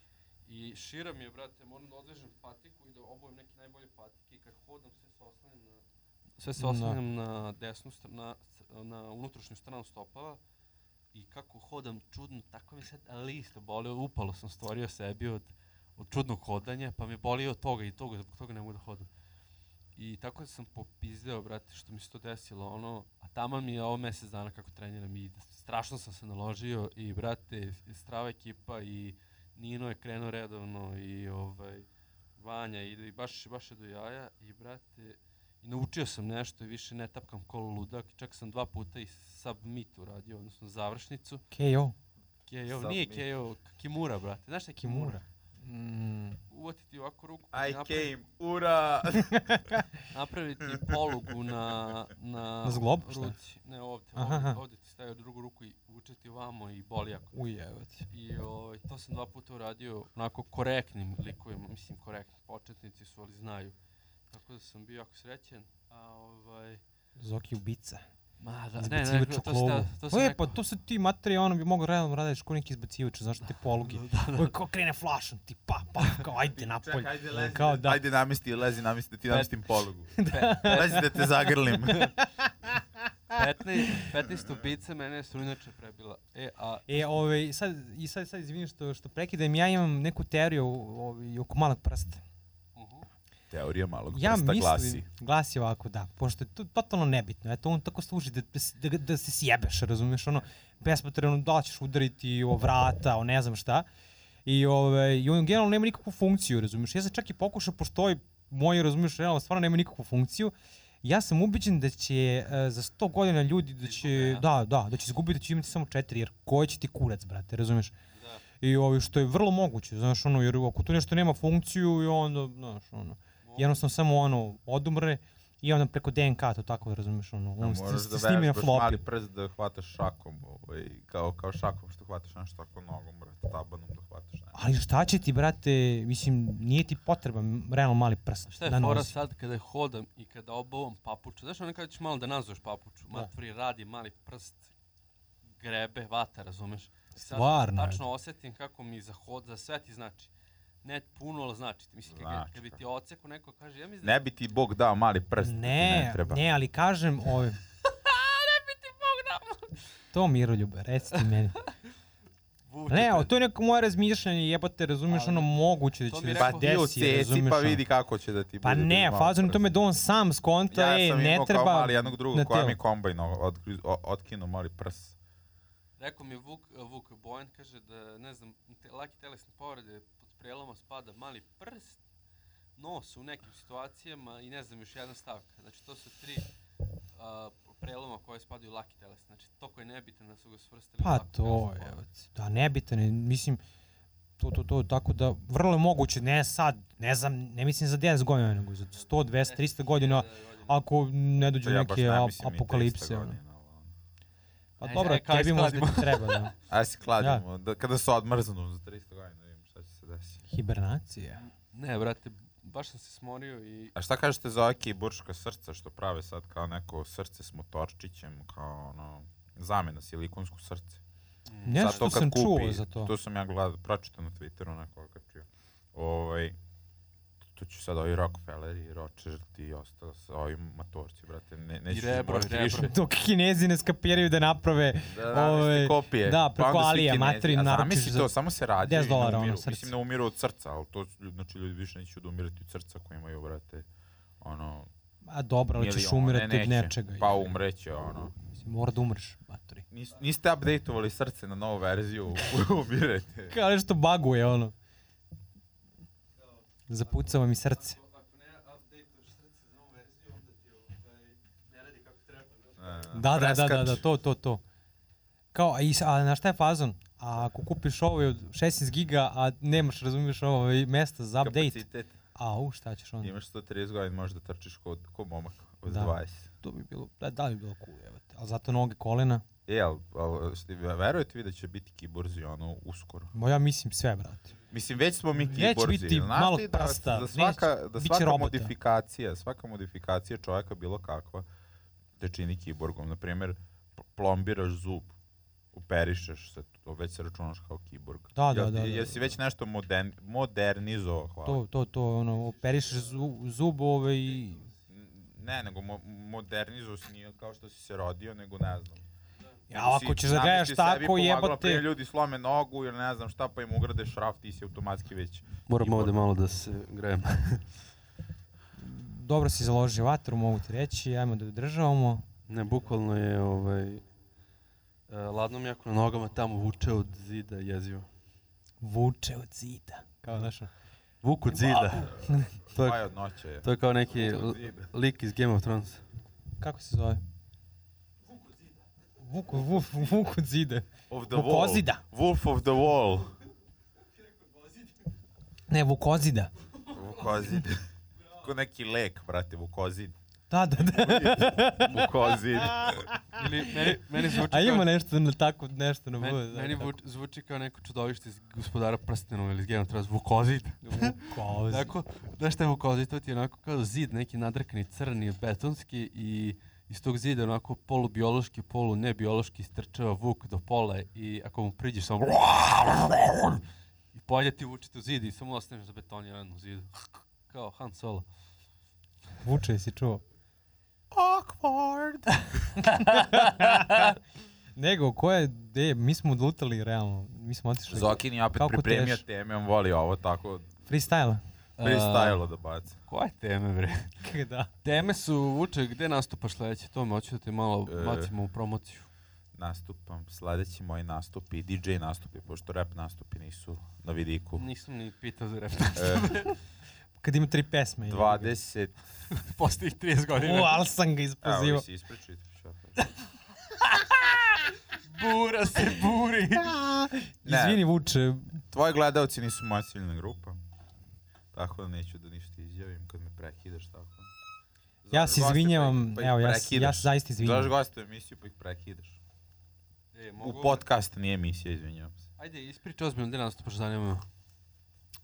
Speaker 4: i šira mi je, brate, moram da odvežem patiku i da obujem neke najbolje patike i kad hodam sve se oslanjam na... Sve se
Speaker 3: Da.
Speaker 4: oslanjam na desnu, str- na, na unutrašnju stranu stopala i kako hodam čudno, tako mi sad list bolio, upalo sam stvorio sebi od, od čudnog hodanja, pa me boli od toga i toga, zbog toga ne mogu da hodam. I tako sam popizdeo, brate, što mi se to desilo, ono, a tamo mi je ovo mjesec dana kako treniram i strašno sam se naložio i, brate, strava ekipa i Nino je krenuo redovno i, ovaj, Vanja i, i baš, baš je do jaja i, brate, i naučio sam nešto i više ne tapkam kolo ludak, čak sam dva puta i submit uradio, odnosno završnicu.
Speaker 3: KO.
Speaker 4: KO, nije
Speaker 2: Submit.
Speaker 4: KO, k- Kimura, brate, znaš šta je Kimura?
Speaker 3: Mm.
Speaker 4: Uvatiti ovako ruku, pa
Speaker 2: I
Speaker 4: napraviti-
Speaker 2: came, ura!
Speaker 4: napraviti polugu na, na,
Speaker 3: Na zglob, šta?
Speaker 4: ruci. Ne, ovdje,
Speaker 3: Aha,
Speaker 4: ovdje,
Speaker 3: aha.
Speaker 4: ovdje ti stavio drugu ruku i učeti ovamo i boli jako.
Speaker 3: Ujevati.
Speaker 4: I ovaj, to sam dva puta uradio onako korektnim likovima, mislim korektni, početnici su, ali znaju. Tako da sam bio jako srećen. A ovaj...
Speaker 3: Zoki ubica.
Speaker 4: Ma da, ne, ne,
Speaker 3: Izbacivač u
Speaker 4: to, to,
Speaker 3: klovu.
Speaker 4: to, to sam
Speaker 3: E,
Speaker 4: rekao.
Speaker 3: pa to su ti materije, ono bi mogao realno raditi ko neki izbacivač, znaš te poluge. Koji ko krene flašom ti, pa, pa, kao ajde napolje. E, Kao da.
Speaker 2: Ajde namesti, lezi namesti, ti namestim polugu.
Speaker 4: Pe-
Speaker 2: Lezi da te zagrlim.
Speaker 4: 15, 15 ubica mene je strunjača prebila. E, a
Speaker 3: E, ovaj, sad, i sad, sad izvinim što, što prekidam, ja imam neku teoriju ovaj, oko malog prsta.
Speaker 4: uhu,
Speaker 2: Teorija malog
Speaker 3: Ja
Speaker 2: prsta
Speaker 3: mislim,
Speaker 2: glasi.
Speaker 3: glasi. ovako, da, pošto je to totalno nebitno, eto, on tako služi da, da, se- da, ga- da se sjebeš, razumiješ, ono, bespotrebno, da li ćeš udariti o vrata, o ne znam šta, i, ove, i on generalno nema nikakvu funkciju, razumiješ, ja sam čak i pokušao, pošto ovaj moj, razumiješ, realno, stvarno nema nikakvu funkciju, Ja sam ubeđen da će uh, za 100 godina ljudi da će, da, da, da će izgubiti, da će imati samo četiri, jer koji će ti kurac, brate, razumeš? I ovaj, što je vrlo moguće, znaš, ono, jer ako tu nešto nema funkciju i onda, znaš, ono, jednostavno samo ono, odumre i onda preko DNK to tako, razumeš, ono,
Speaker 2: Da,
Speaker 3: on se
Speaker 2: moraš
Speaker 3: se
Speaker 2: da
Speaker 3: snimi na
Speaker 2: vežbaš
Speaker 3: flopi.
Speaker 2: mali prst da hvataš šakom, ovaj, kao, kao šakom što hvataš nešto tako nogom, brate, tabanom da hvataš nešto.
Speaker 3: Ali šta će ti, brate, mislim, nije ti potreban realno mali prst.
Speaker 4: Šta je
Speaker 3: da
Speaker 4: fora
Speaker 3: nosi.
Speaker 4: sad kada hodam i kada obavam papuču? Znaš ono kada ćeš malo da nazoveš papuču?
Speaker 3: Da.
Speaker 4: Maturi radi mali prst, grebe, vata, razumeš? I sad
Speaker 3: Stvarno,
Speaker 4: Tačno osetim kako mi za hod, za sve ti znači. Ne puno, ali znači ti. Mislim, kad,
Speaker 2: Znači,
Speaker 4: kad bi
Speaker 2: da.
Speaker 4: ti oceku neko kaže, ja mislim da
Speaker 2: Ne bi ti Bog dao mali prst, ti ne
Speaker 3: Ne,
Speaker 2: treba.
Speaker 3: ne, ali kažem, ovaj... ne bi ti To miroljube, recite meni.
Speaker 4: vuče
Speaker 3: Ne,
Speaker 4: pred-
Speaker 3: ali to je neko moje razmišljanje, jebate, razumiješ,
Speaker 4: Ali-
Speaker 3: ono moguće da će
Speaker 4: To
Speaker 3: da
Speaker 4: mi
Speaker 3: se
Speaker 4: je
Speaker 2: Pa
Speaker 4: rekao-
Speaker 2: ti u
Speaker 3: desi,
Speaker 2: ceci
Speaker 3: razumiješ.
Speaker 2: pa
Speaker 3: ono.
Speaker 2: vidi kako će da ti
Speaker 3: Pa
Speaker 2: bude
Speaker 3: ne,
Speaker 2: bez malog
Speaker 3: fazon je u tome
Speaker 2: prsta.
Speaker 3: da on sam skonta,
Speaker 2: Ja
Speaker 3: ej,
Speaker 2: sam
Speaker 3: ne
Speaker 2: imao
Speaker 3: treba...
Speaker 2: kao mali jednog drugog
Speaker 3: na
Speaker 2: koja
Speaker 3: telo.
Speaker 2: mi kombajn odgriz- o- otkinuo mali prs.
Speaker 4: Rekao mi je Vuk, Vuk Bojan, kaže da, ne znam, te, laki telesne povrede pod preloma spada mali prst, nos u nekim situacijama i ne znam, još jedna stavka. Znači, to su tri a, preloma koje spadaju u laki telesne. Znači, to koji je nebitan da su ga svrstili. u
Speaker 3: Pa
Speaker 4: laku
Speaker 3: to
Speaker 4: telesnu
Speaker 3: je,
Speaker 4: povredu.
Speaker 3: da nebitan je, mislim, to, to, to, tako da vrlo je moguće, ne sad, ne znam, ne mislim za 10 godina, nego za 100, 200, 300 godina, ako ne dođu
Speaker 2: To ja baš
Speaker 3: neke
Speaker 2: ne
Speaker 3: ap-
Speaker 2: mislim i 300
Speaker 3: apokalipse. ono.
Speaker 2: godina, e, ali ono.
Speaker 3: Pa
Speaker 4: Ajde,
Speaker 3: dobro,
Speaker 4: ajde, kao
Speaker 3: tebi možda
Speaker 4: iskladimo.
Speaker 3: ti treba, da.
Speaker 2: Ajde se kladimo, da, kada se odmrznu za 300 godina, da vidimo šta će se desiti.
Speaker 3: Hibernacija.
Speaker 4: Ne, brate, baš sam se smorio i...
Speaker 2: A šta kažete za Oki i Burška srca što prave sad kao neko srce s motorčićem, kao ono, zamena silikonsko srce. Sad
Speaker 3: Nešto
Speaker 2: to kad
Speaker 3: sam
Speaker 2: kupi,
Speaker 3: čuo za to.
Speaker 2: To sam ja gledao, pročitao na Twitteru, onako okačio. Ovaj, to će sad ovi Rockefeller i Rothschild i ostalo sa ovim motorci, brate, ne, nećeš
Speaker 4: rebro,
Speaker 2: morati
Speaker 4: rebro.
Speaker 2: više.
Speaker 3: Dok kinezi ne skapiraju da naprave
Speaker 2: Da, da,
Speaker 3: Ovaj,
Speaker 2: ove, kopije.
Speaker 3: da,
Speaker 2: onda
Speaker 3: preko
Speaker 2: svi
Speaker 3: Alija,
Speaker 2: Kinezi.
Speaker 3: materi,
Speaker 2: A
Speaker 3: naručiš
Speaker 2: zamisli
Speaker 3: za
Speaker 2: to, samo se radi
Speaker 3: 10 dolara, ono, srce.
Speaker 2: Mislim, ne umiru od srca, ali to, su- znači, ljudi više neće da umirati od srca koji imaju, brate, ono,
Speaker 3: A dobro, ali ćeš
Speaker 2: milion,
Speaker 3: umirati
Speaker 2: ne,
Speaker 3: od
Speaker 2: neće.
Speaker 3: nečega.
Speaker 2: Pa umreće, ono.
Speaker 3: Mislim, mora da umreš, matori.
Speaker 2: Nis, niste updateovali srce na novu verziju, umirete.
Speaker 3: Kao nešto baguje, ono. Zapucava mi srce.
Speaker 4: Ako ne update srce za novu verziju, onda ti ovaj, ne radi kako treba.
Speaker 3: Da, da, da, da, da,
Speaker 2: preskače.
Speaker 3: to, to, to. Kao, a, i s- a na šta je fazon? A ako kupiš ovaj od 16 giga, a nemaš, razumiješ, ovaj mesta za update,
Speaker 2: Kapacitet.
Speaker 3: au, šta ćeš onda?
Speaker 2: Imaš 130 godina, možeš da trčiš ko, ko momak od
Speaker 3: Da.
Speaker 2: 20.
Speaker 3: To bi bilo, da, da bi bilo cool, evo te. A zato noge, kolena,
Speaker 2: E, ali al, ste- verujete vi da će biti kiborzi ono uskoro?
Speaker 3: Mo, ja mislim sve, brate.
Speaker 2: Mislim, već smo mi
Speaker 3: Već
Speaker 2: kiborzi.
Speaker 3: biti
Speaker 2: znaš
Speaker 3: malog
Speaker 2: ti
Speaker 3: prsta,
Speaker 2: Da, da svaka, da
Speaker 3: bit će
Speaker 2: svaka
Speaker 3: robota.
Speaker 2: modifikacija, svaka modifikacija čovjeka bilo kakva te čini kiborgom. Naprimjer, p- plombiraš zub, uperišeš se, to već se računaš kao kiborg.
Speaker 3: Da, da,
Speaker 2: jel,
Speaker 3: da, da,
Speaker 2: Jel
Speaker 3: da.
Speaker 2: si već nešto modern, modernizovao, hvala.
Speaker 3: To, to, to, ono, operišeš zu, zub, ovaj, i-
Speaker 2: Ne, nego mo modernizovao si nije kao što si se rodio, nego ne znam.
Speaker 3: ja,
Speaker 2: Nego si
Speaker 3: ako ćeš da
Speaker 2: namesti
Speaker 3: gledaš
Speaker 2: sebi
Speaker 3: tako,
Speaker 2: pomagalo, primjer,
Speaker 3: jebate.
Speaker 2: ljudi slome nogu ili ne znam šta, pa im ugrade šraf, ti si automatski već.
Speaker 4: Moram
Speaker 2: ovde
Speaker 4: ovde malo da se grejem.
Speaker 3: Dobro si založio vatru, mogu ti reći, ajmo da održavamo.
Speaker 4: Ne, bukvalno je ovaj, e, ladnom jako na nogama tamo vuče od zida jezivo.
Speaker 3: Vuče od zida. Kao ono, našo.
Speaker 4: Vuku od zida. to,
Speaker 2: Taj
Speaker 4: je,
Speaker 2: od noće je.
Speaker 4: to je kao neki l- lik iz Game of Thrones.
Speaker 3: Kako se zove? Vuk, vuk, vuk od zida.
Speaker 2: Of the
Speaker 3: Vukozida.
Speaker 2: Wall. Wolf of the Wall.
Speaker 3: Ne, vukozida.
Speaker 2: Vukozid. Ko neki lek, brate, vukozid.
Speaker 3: Da, da, da.
Speaker 2: Vukozid.
Speaker 4: Ili meni, meni zvuči
Speaker 3: A ima
Speaker 4: kao,
Speaker 3: nešto na tako, nešto na
Speaker 4: meni,
Speaker 3: bude.
Speaker 4: meni vuč- zvuči kao neko čudovište iz gospodara prstenu ili iz Game of Thrones. Vukozid.
Speaker 3: Vukozida.
Speaker 4: Tako, znaš šta je vukozid? To ti je onako kao zid, neki nadrkani crni, betonski i iz tog zida onako polubiološki, polu nebiološki istrčava vuk do pola i ako mu priđeš samo i polje ti vučete u zid i samo ostaneš zabetoniran u zidu. Kao Han Solo.
Speaker 3: Vuče, si čuo.
Speaker 2: Awkward.
Speaker 3: Nego, ko je, de, mi smo odlutali realno. Mi smo otišli.
Speaker 2: Zokin je opet
Speaker 3: Kako
Speaker 2: pripremio
Speaker 3: teš?
Speaker 2: teme, on voli ovo tako
Speaker 3: Freestyle.
Speaker 2: freestyle da baci.
Speaker 4: Koje teme, bre?
Speaker 3: da.
Speaker 4: Teme su, Vuče, gde nastupaš sledeće? To me hoću da te malo
Speaker 2: E.
Speaker 4: bacimo u promociju.
Speaker 2: Nastupam, sledeći moji nastupi, DJ nastupi, pošto rap nastupi nisu na vidiku.
Speaker 4: Nisam ni pitao za rep.
Speaker 2: E,
Speaker 3: kad ima tri pesme. jebi ga.
Speaker 2: 20...
Speaker 4: Postojih 30
Speaker 3: U,
Speaker 4: godina.
Speaker 3: ali sam ga
Speaker 2: Evo,
Speaker 3: isprozivao.
Speaker 2: vi si isprečiti.
Speaker 4: Bura se buri.
Speaker 2: Ne.
Speaker 3: Izvini, Vuče,
Speaker 2: Tvoji gledalci nisu moja ciljna grupa. Tako da neću da ništa izjavim kad me prekidaš tako.
Speaker 3: ja
Speaker 2: Zoveš
Speaker 3: se
Speaker 2: goste
Speaker 3: izvinjavam,
Speaker 2: pa ih
Speaker 3: evo, ja, se- ja
Speaker 2: prekidaš.
Speaker 3: se zaista
Speaker 2: Zoveš
Speaker 3: izvinjavam.
Speaker 2: goste u emisiju pa ih prekidaš.
Speaker 4: E,
Speaker 2: U podcast nije emisija, izvinjavam se.
Speaker 4: Ajde, ispriča ozbiljno, gde nas to pošto zanimaju.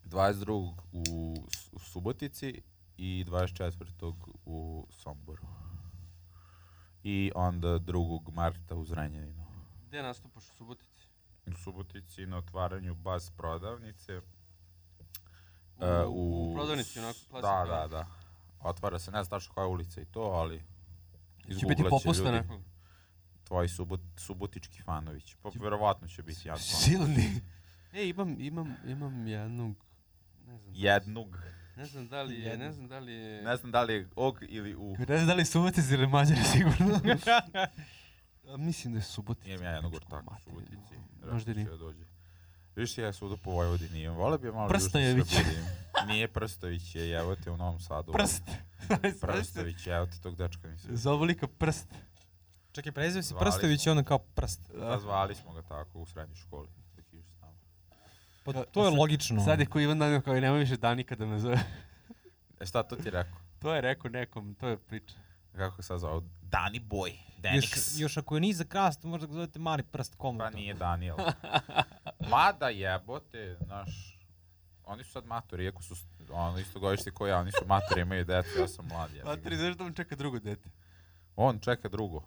Speaker 2: 22. u, S- u Subotici i 24. u Somboru. I onda 2. marta u Zrenjaninu.
Speaker 4: Gde nastupaš u Subotici?
Speaker 2: U Subotici na otvaranju bas prodavnice.
Speaker 4: U,
Speaker 2: E,
Speaker 4: u prodavnici, onako,
Speaker 2: Da,
Speaker 4: klasika.
Speaker 2: da, da. Otvara se, ne znam tačno koja je ulica i to, ali...
Speaker 4: Će biti
Speaker 2: izgooglat će
Speaker 4: popusta
Speaker 2: ljudi.
Speaker 4: nekog.
Speaker 2: Tvoji subot, subotički fanovi će. Pa verovatno će biti jedan fan.
Speaker 4: Silni. E, imam, imam, imam jednog, ne znam,
Speaker 2: Jednog.
Speaker 4: ne znam da li je, ne znam da li je...
Speaker 2: Ne znam da li je og ili u.
Speaker 4: Ne znam da li je Subotic ili Mađari sigurno. A, Mislim da je Subotic.
Speaker 2: Imam ja jednog ortaka u
Speaker 4: Materinu.
Speaker 2: Subotici.
Speaker 4: Možda
Speaker 2: Rado
Speaker 4: i nije.
Speaker 2: će da dođe. Više ja sudu po Vojvodini imam. Vole bi ja malo
Speaker 4: Prstojević.
Speaker 2: društvo sve budim. Nije Prstović je, evo te u Novom Sadu.
Speaker 4: Prst.
Speaker 2: Prstović je, evo te tog dečka nisam.
Speaker 4: Zovu lika prst.
Speaker 3: Čekaj, prezivio si
Speaker 2: Zvali
Speaker 3: Prstović i
Speaker 2: smo.
Speaker 3: onda kao prst.
Speaker 2: Da, zvali smo ga tako u srednjoj školi. dok je išao s nama.
Speaker 3: Pa
Speaker 4: Ka-
Speaker 3: to je
Speaker 4: sad-
Speaker 3: logično. ono.
Speaker 4: Sad je ko Ivan Danilo kao nema više Danika da me zove.
Speaker 2: E šta to ti rekao?
Speaker 4: To je rekao nekom, to je priča.
Speaker 2: Kako se zvao? Dani Boy.
Speaker 3: još,
Speaker 2: Denix.
Speaker 3: još ako je nizak rast, možda ga zovete mali prst komu.
Speaker 2: Pa
Speaker 3: to?
Speaker 2: nije Daniel. Mada jebote, znaš, oni su sad matori, iako su s- ono isto godište koji ja, oni su matori, imaju decu, ja sam mlad. jebi ga.
Speaker 4: Matri, Pa znaš da mu čeka drugo dete?
Speaker 2: On čeka drugo.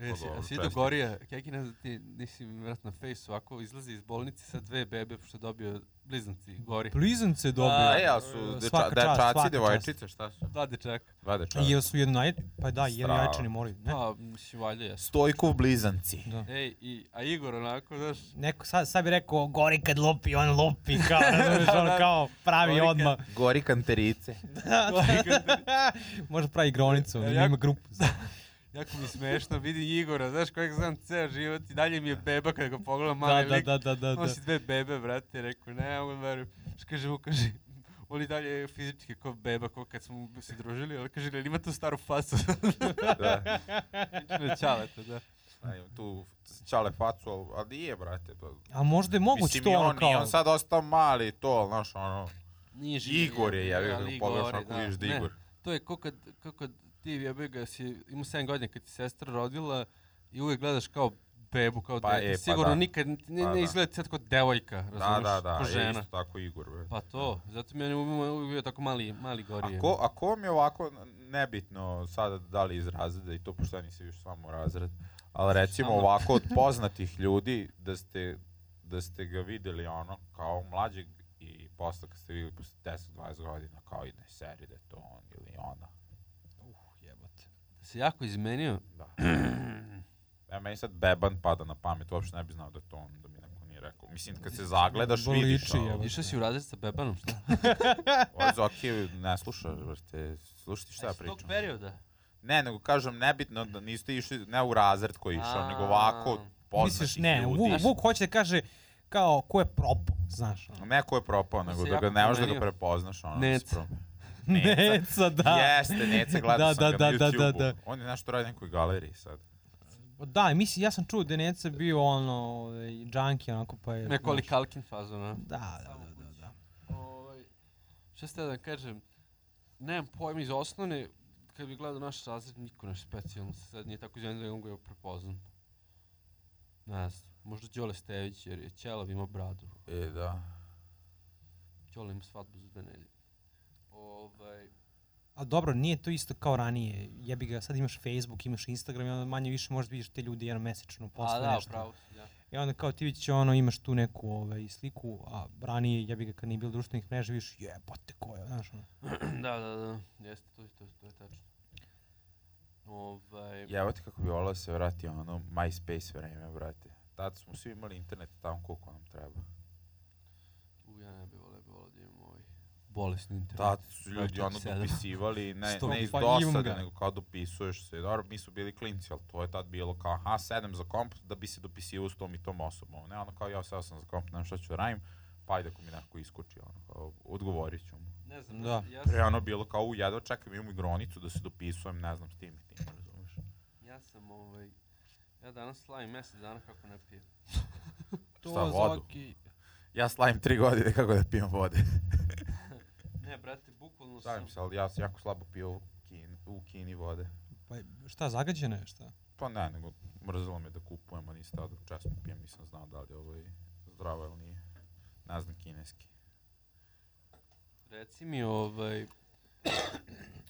Speaker 4: E,
Speaker 2: Pa
Speaker 4: si,
Speaker 2: dobro,
Speaker 4: a si do
Speaker 2: čestitam.
Speaker 4: Gorija, Keki, ne znam ti nisi vjerojatno na fejsu, ovako izlazi iz bolnice sa dve bebe, pošto je dobio blizanci, Gori.
Speaker 3: Blizance je
Speaker 2: A,
Speaker 3: dobio.
Speaker 2: e, ali su
Speaker 3: e,
Speaker 2: deča,
Speaker 3: svaka čast, svaka
Speaker 2: dečaci,
Speaker 3: čast.
Speaker 2: devojčice, šta su?
Speaker 4: Dva dečaka.
Speaker 2: Dva
Speaker 3: A
Speaker 2: dečaka.
Speaker 3: jel su jednoj... Pa da, jer
Speaker 2: Strava.
Speaker 3: jajčani moraju. Ne?
Speaker 4: Pa, mislim, valjda jesu.
Speaker 2: Stojkov blizanci.
Speaker 3: Da.
Speaker 4: Ej, i, a Igor onako, znaš,
Speaker 3: Neko, sad, sad bi rekao, gori kad lopi, on lopi, kao, razumiješ, on kao pravi
Speaker 4: Gori kad-
Speaker 3: odmah.
Speaker 2: Gori kanterice.
Speaker 3: Može pravi igronicu,
Speaker 4: Ja-
Speaker 3: ja, ima grupu.
Speaker 4: jako mi smešno, vidi Igora, znaš kojeg znam ceo život i dalje mi je beba kada ga pogledam,
Speaker 3: Da,
Speaker 4: mali
Speaker 3: da,
Speaker 4: lik,
Speaker 3: da, da, da, da.
Speaker 4: On si dve bebe, brate, rekao, ne mogu da verujem. Što kaže, mu kaže, on i dalje je fizički kao beba, kao kad smo se družili, ali kaže, ali ima tu staru facu,
Speaker 2: da.
Speaker 4: na čaleta, da.
Speaker 2: A, imam Tu čale facu, ali- ali nije, brate. Pa.
Speaker 3: A možda je moguće
Speaker 2: Mislim,
Speaker 3: to
Speaker 2: i
Speaker 3: ono
Speaker 2: on, i
Speaker 3: kao...
Speaker 2: on sad ostao mali i to, ali znaš, ono,
Speaker 4: Nije
Speaker 2: Igor je, ja bih
Speaker 4: ali
Speaker 2: ga
Speaker 4: Igor
Speaker 2: pogledaš,
Speaker 4: je,
Speaker 2: ako
Speaker 4: da.
Speaker 2: vidiš da
Speaker 4: Ne,
Speaker 2: Igor.
Speaker 4: To je kao kad, kao kad ti, ja bih ga, si imao 7 godina kad ti sestra rodila i uvijek gledaš kao bebu, kao
Speaker 2: Pa
Speaker 4: dete.
Speaker 2: je, pa
Speaker 4: Sigurno
Speaker 2: da.
Speaker 4: nikad, ne, ne
Speaker 2: Pa da.
Speaker 4: izgleda sad kao devojka,
Speaker 2: Da,
Speaker 4: razumiješ,
Speaker 2: da, da, e,
Speaker 4: kao
Speaker 2: je
Speaker 4: žena.
Speaker 2: isto tako Igor, brate.
Speaker 4: Pa to, zato mi je on uvijek bio tako mali, mali gori.
Speaker 2: Ako, ako mi je ovako nebitno sada da li iz razreda i to pošto ja nisam još samo razred, ali recimo
Speaker 4: Samo.
Speaker 2: ovako od poznatih ljudi da ste, da ste ga videli ono kao mlađeg i posle kad ste videli posle 10-20 godina kao i da je seri da je to on ili ona.
Speaker 4: Se jako izmenio.
Speaker 2: Da. Ja, E, meni sad beban pada na pamet, uopšte ne bi znao da je to on, da mi neko nije rekao. Mislim, kad se zagledaš,
Speaker 3: Boliči,
Speaker 2: vidiš. ali-
Speaker 3: jebote.
Speaker 4: Išao si u razred sa Bebanom, šta?
Speaker 2: Ovo Zoki ne sluša, brate, slušati šta ja
Speaker 4: Iz tog
Speaker 2: pričam.
Speaker 4: perioda.
Speaker 2: Ne, nego kažem, nebitno da niste išli, ne u razred koji je išao,
Speaker 4: A.
Speaker 2: nego ovako od poznatih
Speaker 3: Misliš, ne,
Speaker 2: ljudi.
Speaker 3: Vuk, Vuk hoće da kaže kao ko je propo, znaš. ono.
Speaker 2: Neko je propao, nego
Speaker 4: se
Speaker 2: da ga
Speaker 4: jako
Speaker 2: ne možeš da ga
Speaker 4: promenio.
Speaker 2: prepoznaš. Ono,
Speaker 4: Nec.
Speaker 2: da se promi-
Speaker 3: Neca, da.
Speaker 2: Jeste, Neca, gledao
Speaker 3: Da,
Speaker 2: sam
Speaker 3: da,
Speaker 2: ga
Speaker 3: da,
Speaker 2: na
Speaker 3: da,
Speaker 2: YouTube-u.
Speaker 3: da, da.
Speaker 2: On je nešto radi u nekoj galeriji sad.
Speaker 3: Pa Da, mislim, ja sam čuo da je Neca bio ono, ovaj, junkie, onako, pa je...
Speaker 4: Nekoli
Speaker 3: znaš.
Speaker 4: Kalkin fazon, a?
Speaker 3: Da, da, da, da, da.
Speaker 4: Ovaj, šta ste da kažem, nemam pojma iz osnovne, kad bi gledao naš razred, niko naš specijalno se sad nije tako izvenio da ga je prepoznam. Ne znam, možda Đole Stević, jer je Ćelav imao bradu.
Speaker 2: E, da.
Speaker 4: Ćole ima svadbu za dve nedelje. Ovaj,
Speaker 3: A dobro, nije to isto kao ranije. Jebi ga, sad imaš Facebook, imaš Instagram i onda manje više možeš da vidiš te ljudi jednom mesečno
Speaker 4: a
Speaker 3: posle
Speaker 4: da,
Speaker 3: nešto.
Speaker 4: pravo si, da.
Speaker 3: I onda kao ti vidiš ono, imaš tu neku ovaj, sliku, a ranije jebi ga kad nije bilo društvenih mreža, vidiš jebote ko je, znaš ono.
Speaker 4: da, da, da, jeste, to, je- to, je- to je tačno. Ovaj,
Speaker 2: Jevo ti kako bi volao da se vrati ono MySpace vreme, brate. Tad smo svi imali internet tamo koliko nam treba.
Speaker 4: u, ja ne bih volio, bih volio da imam ovaj bolesni internet.
Speaker 2: Tad su ljudi ono
Speaker 4: 27.
Speaker 2: dopisivali, ne,
Speaker 3: Sto-
Speaker 2: ne iz
Speaker 3: pa imam
Speaker 2: dosade,
Speaker 3: ga.
Speaker 2: nego kao dopisuješ se. Dobro, mi su bili klinci, ali to je tad bilo kao, aha, sedem za komp, da bi se dopisivao s tom i tom osobom. Ne, ono kao, ja seo sam za komp, nemam šta ću da radim, pa ajde ako mi neko iskoči, ono, kao, ono, odgovorit ću mu.
Speaker 4: Ne znam,
Speaker 3: Da.
Speaker 4: ja,
Speaker 2: Pre
Speaker 4: sam,
Speaker 2: ono bilo kao u jedo, čekam imam igronicu da se dopisujem, ne znam, s tim i tim, razumeš?
Speaker 4: ja sam ovaj, ja danas slavim mjesec dana kako ne pijem.
Speaker 2: To Šta, vodu? Zoki. Ja slavim tri godine kako da pijem vode.
Speaker 4: Ne, brate, bukvalno sam...
Speaker 2: Slavim se, ali ja sam jako slabo pio kin, u Kini vode.
Speaker 3: Pa, šta, zagađeno je, šta?
Speaker 2: Pa ne, nego mrzelo me da kupujem, a nisam tada često pijem, nisam znao da li je ovo i zdravo ili nije. Ne znam kineski.
Speaker 4: Reci mi, ovaj...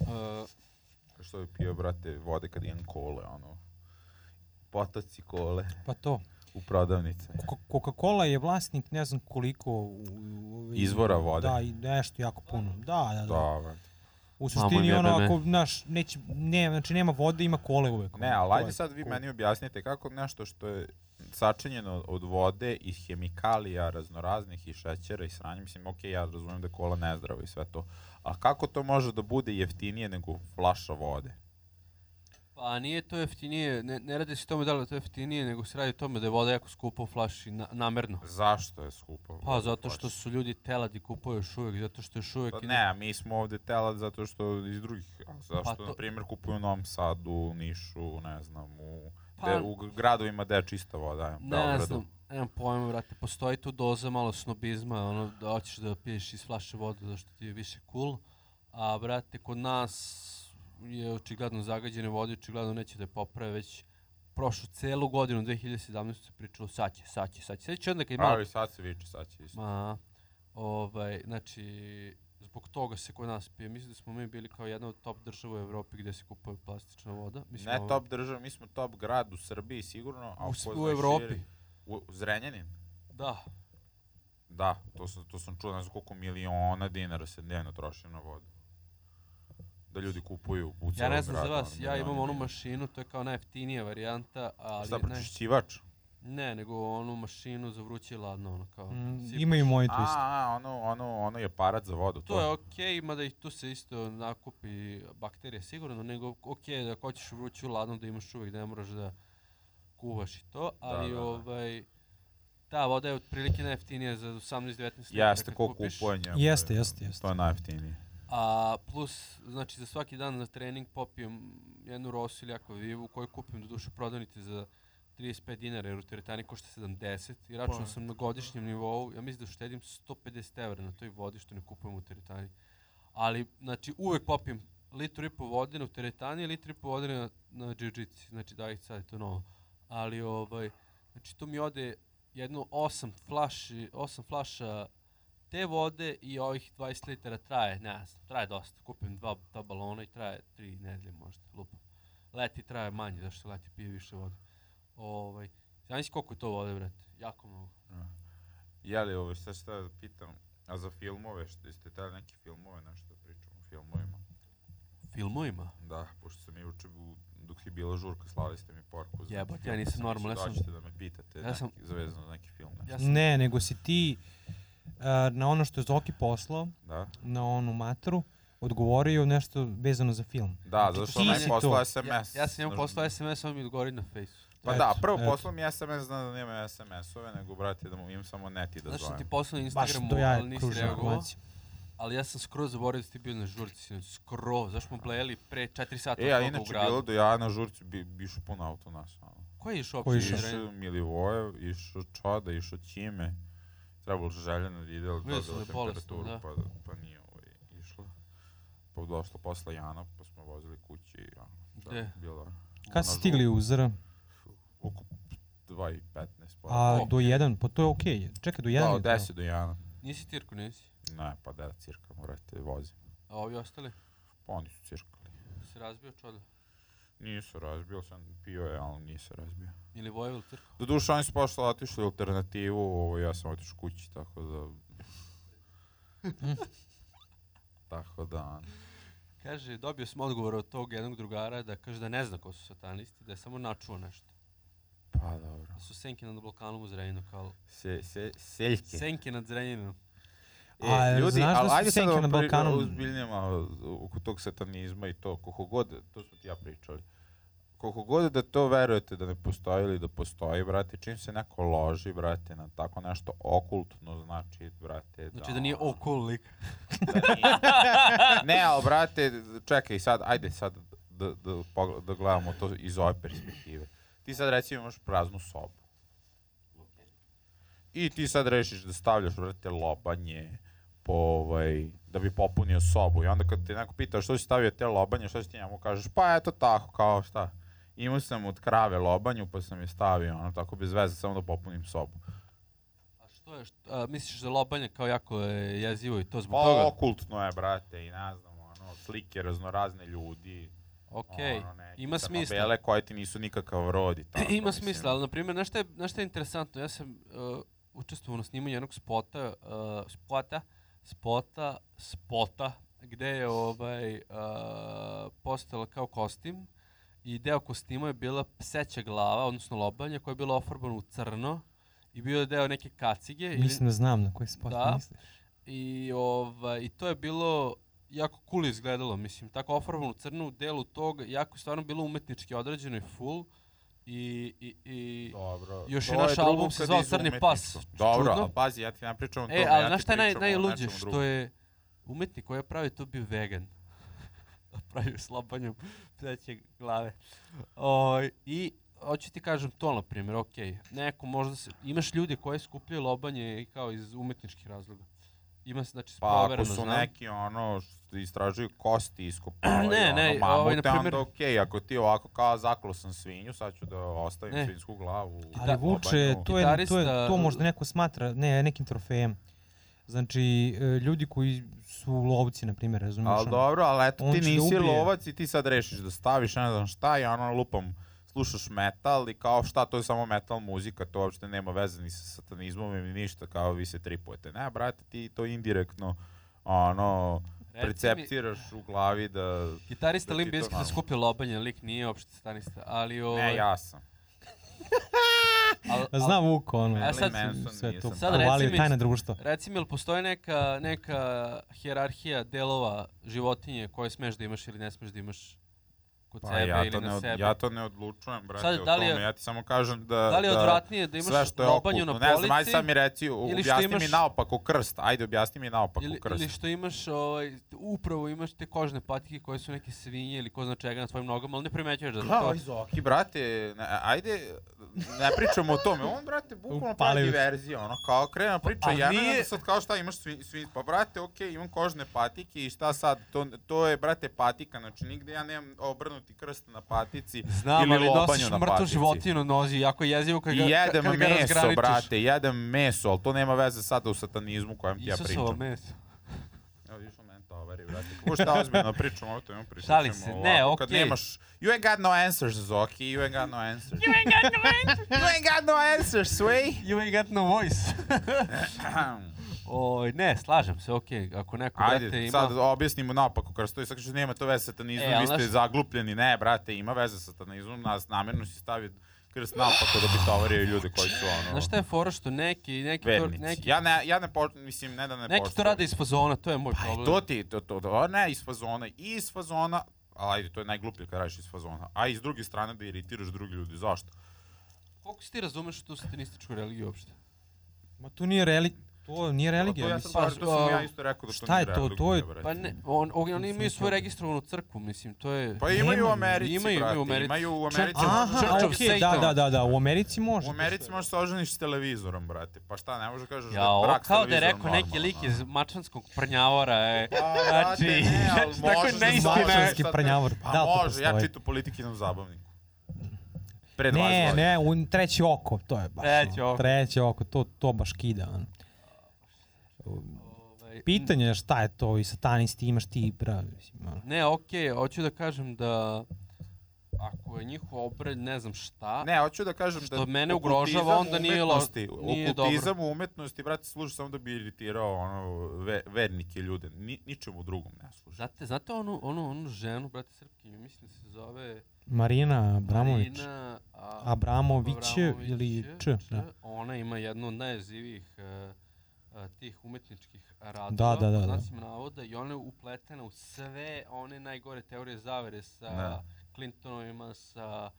Speaker 4: Uh,
Speaker 2: Što bi pio, brate, vode kad imam kole, ono. Potoci kole
Speaker 3: Pa to.
Speaker 2: u prodavnice.
Speaker 3: Coca- Coca-Cola je vlasnik ne znam koliko... U, u,
Speaker 2: Izvora vode.
Speaker 3: Da, i nešto jako puno. Da, da, da.
Speaker 2: Da, brate.
Speaker 3: U
Speaker 4: Mamo
Speaker 3: suštini
Speaker 4: jebe
Speaker 3: ono,
Speaker 4: me.
Speaker 3: ako, znaš, neće, ne, znači nema vode, ima kole uvek.
Speaker 2: Ne,
Speaker 3: ono,
Speaker 2: ali
Speaker 3: to
Speaker 2: ajde
Speaker 3: je
Speaker 2: sad vi
Speaker 3: cool.
Speaker 2: meni objasnite kako nešto što je sačinjeno od vode i hemikalija raznoraznih i šećera i sranja, mislim, ok, ja razumijem da je kola nezdrava i sve to, a kako to može da bude jeftinije nego flaša vode?
Speaker 4: pa nije to jeftinije, ne, ne radi se o tome da li je to jeftinije, nego se radi o tome da je voda jako skupa u flaši, na, namerno.
Speaker 2: Zašto je skupo?
Speaker 4: Pa zato što su ljudi teladi kupuju još uvijek, zato što još uvijek... ide-
Speaker 2: Pa Ne, a mi smo ovde telad zato što iz drugih, a zašto,
Speaker 4: Pa to-
Speaker 2: na primjer, kupuju u Novom Sadu, u Nišu, ne znam, u,
Speaker 4: Pa-
Speaker 2: de, u gradovima gde je čista voda, ne,
Speaker 4: Ne
Speaker 2: Beogradu.
Speaker 4: znam, nemam pojma, vrate, postoji tu doza malo snobizma, ono, da hoćeš da piješ iz flaše vode, zašto ti je više cool, a, brate, kod nas je očigledno zagađene vode, očigledno neće da je poprave, već prošlu celu godinu, 2017. se pričalo, sad će, sad će, sad će, sad će onda kad je malo
Speaker 2: Pravi, sad se viče, sad će isto.
Speaker 4: Ma, ovaj, znači, zbog toga se kod nas pije. Mislim da smo mi bili kao jedna od top država u Evropi gde se kupuje plastična voda. Mislim,
Speaker 2: Ne
Speaker 4: ovo-
Speaker 2: top država, mi smo top grad u Srbiji sigurno, a
Speaker 4: U,
Speaker 2: ko
Speaker 4: s-
Speaker 2: zna
Speaker 4: u Evropi.
Speaker 2: šire- U, u Zrenjanin?
Speaker 4: Da.
Speaker 2: Da, to sam, to sam čuo, ne znam koliko miliona dinara se dnevno troši na vodu. Da ljudi kupuju u celom
Speaker 4: Ja
Speaker 2: gradu.
Speaker 4: ne znam za vas,
Speaker 2: ono,
Speaker 4: ja
Speaker 2: milioni
Speaker 4: imam onu
Speaker 2: dinara.
Speaker 4: mašinu, to je kao najjeftinija varijanta, ali
Speaker 2: Šta,
Speaker 4: ne,
Speaker 2: pročišćivač?
Speaker 4: ne, nego onu mašinu za vruće i ladno, ono kao.
Speaker 3: Mm,
Speaker 4: sipaš.
Speaker 3: Ima i moji
Speaker 2: A,
Speaker 3: tu isto.
Speaker 2: a, ono, ono, ono je aparat za vodu.
Speaker 4: To je okej, mada i tu se isto nakupi bakterije sigurno, nego okej da ako hoćeš vruću ladnu da imaš uvijek, da ne moraš da kuvaš i to, ali
Speaker 2: da, da.
Speaker 4: ovaj, ta voda je otprilike najjeftinija za 18-19 litara
Speaker 2: Jeste,
Speaker 4: kad
Speaker 2: ko
Speaker 4: kupiš,
Speaker 2: kupuje njemu.
Speaker 3: Jeste,
Speaker 2: je-
Speaker 3: jeste, jeste.
Speaker 2: To je najjeftinije.
Speaker 4: A plus, znači za svaki dan na trening popijem jednu rosu ili akvavivu koju kupim do duše prodavnice za 35 dinara jer u teretani košta 70 i računao sam na godišnjem nivou, ja mislim da štedim 150 evra na toj vodi što ne kupujem u teretani. Ali, znači, uvek popijem litru i po vode na teretani i litru i po vode na, na džiu-jitsi, znači da ih sad je to novo. Ali, ovaj, znači, to mi ode jedno 8 flaši, 8 flaša te vode i ovih 20 litara traje, ne znam, traje dosta. Kupim dva, dva balona i traje tri nedelje možda, lupam. Leti traje manje, zašto leti pije više vode. Ovaj, znači koliko je to vode, brate? Jako mnogo.
Speaker 2: Je li ovo, sad šta da pitam, a za filmove, što ste tada neke filmove, nešto da pričamo o filmovima?
Speaker 4: Filmovima?
Speaker 2: Da, pošto sam juče, u- dok je bila žurka, slali ste mi porku. za
Speaker 4: Jebote,
Speaker 2: film,
Speaker 4: ja nisam
Speaker 2: mislio
Speaker 4: normalan,
Speaker 2: da
Speaker 4: ja sam-
Speaker 2: hoćete da me pitate
Speaker 4: ja
Speaker 2: ja
Speaker 4: sam-
Speaker 2: sam, za vezano za neki film. Nešto.
Speaker 4: Ja sam,
Speaker 3: Ne, nego si ti uh, na ono što je Zoki poslao,
Speaker 2: Da?
Speaker 3: na onu matru, odgovorio nešto vezano za film.
Speaker 2: Da, zato što
Speaker 3: ti
Speaker 2: ona
Speaker 3: si
Speaker 2: je
Speaker 3: to.
Speaker 2: poslala SMS.
Speaker 4: ja, ja sam njemu
Speaker 2: Znaš,
Speaker 4: poslao SMS, on mi odgovori na fejsu.
Speaker 2: Pa
Speaker 3: Eto,
Speaker 2: da, prvo
Speaker 3: eto.
Speaker 2: poslao mi SMS, znam da nema SMS-ove, nego, brate, da mu imam samo neti da
Speaker 4: Znaš da ti
Speaker 2: zovem.
Speaker 4: poslao na
Speaker 3: Baš
Speaker 4: Instagramu,
Speaker 3: do jaja
Speaker 4: ali nisi
Speaker 3: kruži
Speaker 4: reagovao.
Speaker 3: informacija.
Speaker 4: Ali ja sam skroz zaboravio da ti bio na žurci, sinoć, skroz. Znaš smo blejali pre 4 sata
Speaker 2: E, a
Speaker 4: od toga u
Speaker 2: inače,
Speaker 4: gradu.
Speaker 2: bilo do ja na žurci, bi, bi išao pun auto nas. Ono.
Speaker 4: Ko je išao
Speaker 3: Ko je
Speaker 4: uopće?
Speaker 3: išao?
Speaker 4: Išao
Speaker 2: Išao Milivojev, išao Čoda, išao Ćime. Trebalo željeno da ide, ali
Speaker 4: Vidio sam
Speaker 2: dodala
Speaker 4: da je bolestan,
Speaker 2: temperaturu,
Speaker 4: da.
Speaker 2: pa, pa nije ovaj, išla. Pa došla posle Jana, pa smo vozili kući i ono, da,
Speaker 4: Gde?
Speaker 2: bilo.
Speaker 3: Kad ste stigli u ZR?
Speaker 2: Oko 2 i 15. Pa.
Speaker 3: A,
Speaker 4: O.
Speaker 3: do 1, pa to je okej. Čekaj, do 1
Speaker 2: da,
Speaker 3: je
Speaker 2: od
Speaker 3: to.
Speaker 2: 10 do Jana.
Speaker 4: Nisi Tirko, nisi.
Speaker 2: Ne, pa da, cirka, morate vozim.
Speaker 4: A ovi ostali?
Speaker 2: Pa oni su cirkali.
Speaker 4: Se razbio čoda?
Speaker 2: Nisu razbio, sam pio je, ali nisu razbio.
Speaker 4: Ili Vojevil Tirko?
Speaker 2: Doduše, oni su pošli otišli u alternativu, ovo, ja sam otišao kući, tako da... tako da, ono.
Speaker 4: Kaže, dobio sam odgovor od tog jednog drugara da kaže da ne zna ko su satanisti, da je samo načuo nešto.
Speaker 2: pa dobro.
Speaker 4: Da su senke nad Balkanom u Zrenjinu, kao
Speaker 2: Se, se, seljke.
Speaker 4: senke nad Zrenjaninom.
Speaker 3: A, jel znaš da
Speaker 2: ali
Speaker 3: su
Speaker 2: ajde sad
Speaker 3: senke
Speaker 2: ovo
Speaker 3: na
Speaker 2: pri-
Speaker 3: Balkanu?
Speaker 2: Ozbiljnije malo oko tog satanizma i to, koliko god, to smo ti ja pričali. koliko god da to verujete da ne postoji ili da postoji, brate, čim se neko loži, brate, na tako nešto okultno, znači, brate,
Speaker 4: Znači da nije okul lik.
Speaker 2: da nije- ne, ali, brate, čekaj sad, ajde sad da, da, pogled- da gledamo to iz ove perspektive. Ti sad recimo imaš praznu sobu. I ti sad rešiš da stavljaš, brate, lobanje po, ovaj, da bi popunio sobu. I onda kad te neko pita što si stavio te lobanje, što si ti njemu kažeš, pa eto tako, kao šta. Imao sam od krave lobanju, pa sam je stavio, ono, tako bez veze, samo da popunim sobu.
Speaker 4: A što je, što, a, misliš da lobanje kao jako je jezivo i to zbog
Speaker 2: Pa,
Speaker 4: toga?
Speaker 2: okultno je, brate, i ne znam, ono, slike raznorazne ljudi.
Speaker 4: Okej,
Speaker 2: ono, neke
Speaker 4: ima smisla.
Speaker 2: crno-bele koje ti nisu nikakav rod i tako.
Speaker 4: Ima
Speaker 2: mislim.
Speaker 4: smisla, ali na primjer, znaš šta je, znaš šta je interesantno? Ja sam uh, učestvovao na snimanju jednog spota, uh, spota, spota, spota, gde je ovaj, uh, postala kao kostim i deo kostima je bila pseća glava, odnosno lobanje, koja je bila ofarbana u crno i bio je deo neke kacige. ili-
Speaker 3: Mislim da znam na koji spot
Speaker 4: Da.
Speaker 3: misliš.
Speaker 4: I, ovaj, I to je bilo jako cool izgledalo, mislim, tako ofarbano u crnu u delu tog, jako je stvarno bilo umetnički određeno i full. I, i, i
Speaker 2: Dobro.
Speaker 4: Još
Speaker 2: to
Speaker 4: je naš
Speaker 2: drugo
Speaker 4: album se
Speaker 2: kad
Speaker 4: zvao
Speaker 2: iz
Speaker 4: Crni
Speaker 2: umetničkog.
Speaker 4: pas.
Speaker 2: Dobro,
Speaker 4: Čudno.
Speaker 2: ali pazi, ja ti ne pričam o tome.
Speaker 4: E,
Speaker 2: ja
Speaker 4: ali
Speaker 2: ti
Speaker 4: znaš šta je naj,
Speaker 2: pričam o
Speaker 4: najluđe?
Speaker 2: nečemu
Speaker 4: Što
Speaker 2: drugom.
Speaker 4: je umetnik koji je pravi to bio vegan. pravi s lobanjom pseće glave. O, I hoću ti kažem to, na primjer, ok, neko možda se, imaš ljudi koji skupljaju lobanje i kao iz umetničkih razloga. Ima se, znači,
Speaker 2: Pa
Speaker 4: provereno,
Speaker 2: ako su
Speaker 4: znam.
Speaker 2: neki ono što istražuju kosti iskopavaju
Speaker 4: Ne,
Speaker 2: ne,
Speaker 4: ne,
Speaker 2: ne, ono
Speaker 4: ovaj,
Speaker 2: mamute,
Speaker 4: na
Speaker 2: ovaj,
Speaker 4: primjer-
Speaker 2: onda okej, ako ti ovako kao zaklo sam svinju, sad ću da ostavim
Speaker 4: Ne.
Speaker 2: svinjsku glavu. u
Speaker 3: Ali Vuče,
Speaker 2: lobanju.
Speaker 3: to je, to je,
Speaker 4: Gitarista-
Speaker 3: to možda neko smatra, ne, nekim trofejem. Znači, e, ljudi koji su lovci, na primjer, razumiješ?
Speaker 2: Ali
Speaker 3: ono.
Speaker 2: dobro, ali eto
Speaker 3: On
Speaker 2: ti
Speaker 3: će da
Speaker 2: nisi
Speaker 3: ubije.
Speaker 2: lovac i ti sad rešiš da staviš ne znam šta i ono lupam slušaš metal i kao šta to je samo metal muzika, to uopšte nema veze ni sa satanizmom ni ništa, kao vi se tripujete. Ne, brate, ti to indirektno ono
Speaker 4: Reci mi-
Speaker 2: percepciraš u glavi da
Speaker 4: Gitarista
Speaker 2: Da ti
Speaker 4: Limp
Speaker 2: to
Speaker 4: Bizkita
Speaker 2: navuče.
Speaker 4: skupio lobanje, lik nije uopšte stanista, ali ovo...
Speaker 2: ne ja sam.
Speaker 4: al, al,
Speaker 3: Znam Vuko, ono,
Speaker 2: Marilyn
Speaker 4: sad-
Speaker 2: Manson
Speaker 3: sve to.
Speaker 2: nisam.
Speaker 4: Sad
Speaker 3: Sad
Speaker 4: reci mi-
Speaker 3: tajna društva.
Speaker 4: Reci mi, jel postoji neka, neka hjerarhija delova životinje koje smeš da imaš ili ne smeš da imaš kod
Speaker 2: Pa
Speaker 4: sebe
Speaker 2: ja to,
Speaker 4: ili
Speaker 2: ne,
Speaker 4: na
Speaker 2: od-
Speaker 4: sebe?
Speaker 2: ja to ne odlučujem, brate,
Speaker 4: Sad,
Speaker 2: o
Speaker 4: da li je-
Speaker 2: tome. Ja ti samo kažem da...
Speaker 4: da li je odvratnije da
Speaker 2: sve
Speaker 4: imaš
Speaker 2: što je
Speaker 4: lobanju na
Speaker 2: okultno. Ne
Speaker 4: polici
Speaker 2: znam, ajde sad mi reci, u-
Speaker 4: ili što
Speaker 2: objasni mi
Speaker 4: imaš-
Speaker 2: naopako krst. Ajde, objasni mi naopako
Speaker 4: ili,
Speaker 2: krst.
Speaker 4: ili što imaš, ovaj, upravo imaš te kožne patike koje su neke svinje ili ko zna čega na svojim nogama, ali ne primećuješ da
Speaker 2: Glava
Speaker 4: to...
Speaker 2: iz oki, brate, ne, ajde, ne pričamo o tome. On, brate, bukvalno pravi
Speaker 3: Upalio se.
Speaker 2: diverzije, ono, kao krena priča
Speaker 4: a
Speaker 2: jedna,
Speaker 4: nije-
Speaker 2: nije... onda sad kao šta imaš svi, svi, pa brate, okej, imam kožne patike i šta sad, to, to je, brate, patika, znači nigde ja nemam obrnuti krst na patici
Speaker 4: Znam,
Speaker 2: ili
Speaker 4: ali
Speaker 2: lobanju
Speaker 4: nosiš
Speaker 2: na
Speaker 4: mrtvu
Speaker 2: patici.
Speaker 4: životinu nozi, jako je jezivo kad
Speaker 2: I
Speaker 4: ga,
Speaker 2: jedem
Speaker 4: kad ga
Speaker 2: meso,
Speaker 4: razgraničiš.
Speaker 2: brate, jedem meso, ali to nema veze sada u satanizmu kojem ti ja pričam.
Speaker 4: Isusovo meso.
Speaker 2: Evo, išao men toveri, brate. Kako šta ozbiljno pričamo, ovo to imam pričamo.
Speaker 4: Šalim se, ne,
Speaker 2: ovako, Kad
Speaker 4: okej.
Speaker 2: nemaš, you ain't got no answers, Zoki, you ain't got no answers. you ain't got no answers. you ain't got no answers, Sway.
Speaker 4: You ain't got no voice. Oj, ne, slažem se, okej, ako neko, brate,
Speaker 2: Ajde,
Speaker 4: ima...
Speaker 2: sad objasnimo naopako, kad stoji, sad kažeš nema to veze sa satanizmom,
Speaker 4: E, ali
Speaker 2: vi ste
Speaker 4: znaš-
Speaker 2: zaglupljeni, ne, brate, ima veze sa satanizmom, nas namjerno si stavio krst naopako da bi tovario ljude koji su ono...
Speaker 4: Znaš šta je fora što neki, neki, to,
Speaker 2: Vernici.
Speaker 4: neki,
Speaker 2: Ja ne, ja ne po, mislim, ne da ne
Speaker 4: neki to
Speaker 2: poštujem.
Speaker 4: rade iz fazona, to je moj
Speaker 2: Pa i
Speaker 4: problem.
Speaker 2: to ti, to, to, to, ne iz fazona, i iz fazona, a ajde, to je najgluplje kad radiš iz fazona, a i s druge strane da iritiraš drugi ljudi, zašto?
Speaker 4: Koliko si ti razumeš tu satanističku religiju uopšte?
Speaker 3: Ma to nije reli... To nije religija,
Speaker 2: to, ja
Speaker 3: mislim.
Speaker 2: sad,
Speaker 4: Pa,
Speaker 2: baš- to sam ja
Speaker 4: a,
Speaker 2: isto rekao da to
Speaker 3: šta
Speaker 2: nije
Speaker 3: je to?
Speaker 2: religija,
Speaker 3: To je-
Speaker 2: brate.
Speaker 4: Pa ne, on, on, oni
Speaker 3: Sam
Speaker 4: imaju
Speaker 3: sam to-
Speaker 4: svoju registrovanu crkvu, mislim, to je...
Speaker 2: Pa imaju u
Speaker 3: Nema,
Speaker 2: Americi,
Speaker 4: imaju,
Speaker 2: imaju,
Speaker 4: imaju
Speaker 2: brate,
Speaker 4: u Americi.
Speaker 2: imaju u
Speaker 4: Čak-
Speaker 2: Americi.
Speaker 3: Aha,
Speaker 4: Church of
Speaker 3: okej, da,
Speaker 4: Satan.
Speaker 3: da, da, da, u Americi može.
Speaker 2: U Americi možeš se oženiš s televizorom, brate. Pa šta, ne može kažeš da
Speaker 4: Ja,
Speaker 2: je
Speaker 4: ovo
Speaker 2: brak s
Speaker 4: kao da je
Speaker 2: televizorom
Speaker 4: rekao neki lik
Speaker 2: normalno,
Speaker 4: iz mačanskog prnjavora, e.
Speaker 2: a? ono. Pa,
Speaker 4: Znači,
Speaker 2: brate, ne, ali
Speaker 4: znači, tako je
Speaker 2: možeš da
Speaker 4: neistina.
Speaker 2: možeš, sad
Speaker 3: Mačanski
Speaker 2: ne-
Speaker 3: prnjavor,
Speaker 2: Pa
Speaker 3: da, to
Speaker 2: može, ja
Speaker 3: postoji.
Speaker 2: čitu politikinom zabavniku. Pre 20
Speaker 3: Ne,
Speaker 2: godina.
Speaker 3: ne, u treće oko, to je baš.
Speaker 4: Treće
Speaker 3: ono,
Speaker 4: oko.
Speaker 3: Treće oko, to, to baš kida. Ono.
Speaker 4: Ovaj,
Speaker 3: Pitanje je šta je to i satanisti imaš ti, bra, mislim, ono.
Speaker 4: Ne, okej, hoću da kažem da ako je njihov obred ne znam šta,
Speaker 2: Ne, hoću da kažem
Speaker 4: Što
Speaker 2: da
Speaker 4: mene
Speaker 2: okultizam
Speaker 4: ugrožava, onda nije lo-
Speaker 2: umetnosti,
Speaker 4: nije dobro.
Speaker 2: Okultizam u umetnosti, brate, služi samo da bi iritirao ono, ve, vernike ljude. Ni, ničemu drugom ne služi.
Speaker 4: Znate, znate onu, onu, onu ženu, brate Srpkinju, mislim da se zove
Speaker 3: Marina Abramović.
Speaker 4: Marina a,
Speaker 3: Abramović ili Č. Da.
Speaker 4: Ona ima jednu od najzivijih uh, tih umetniččkih
Speaker 3: Da,
Speaker 4: radova,
Speaker 3: da, da, da.
Speaker 4: pod znacima navoda, i ona je upletena u sve one najgore teorije zavere sa
Speaker 2: Da.
Speaker 4: Clintonovima, sa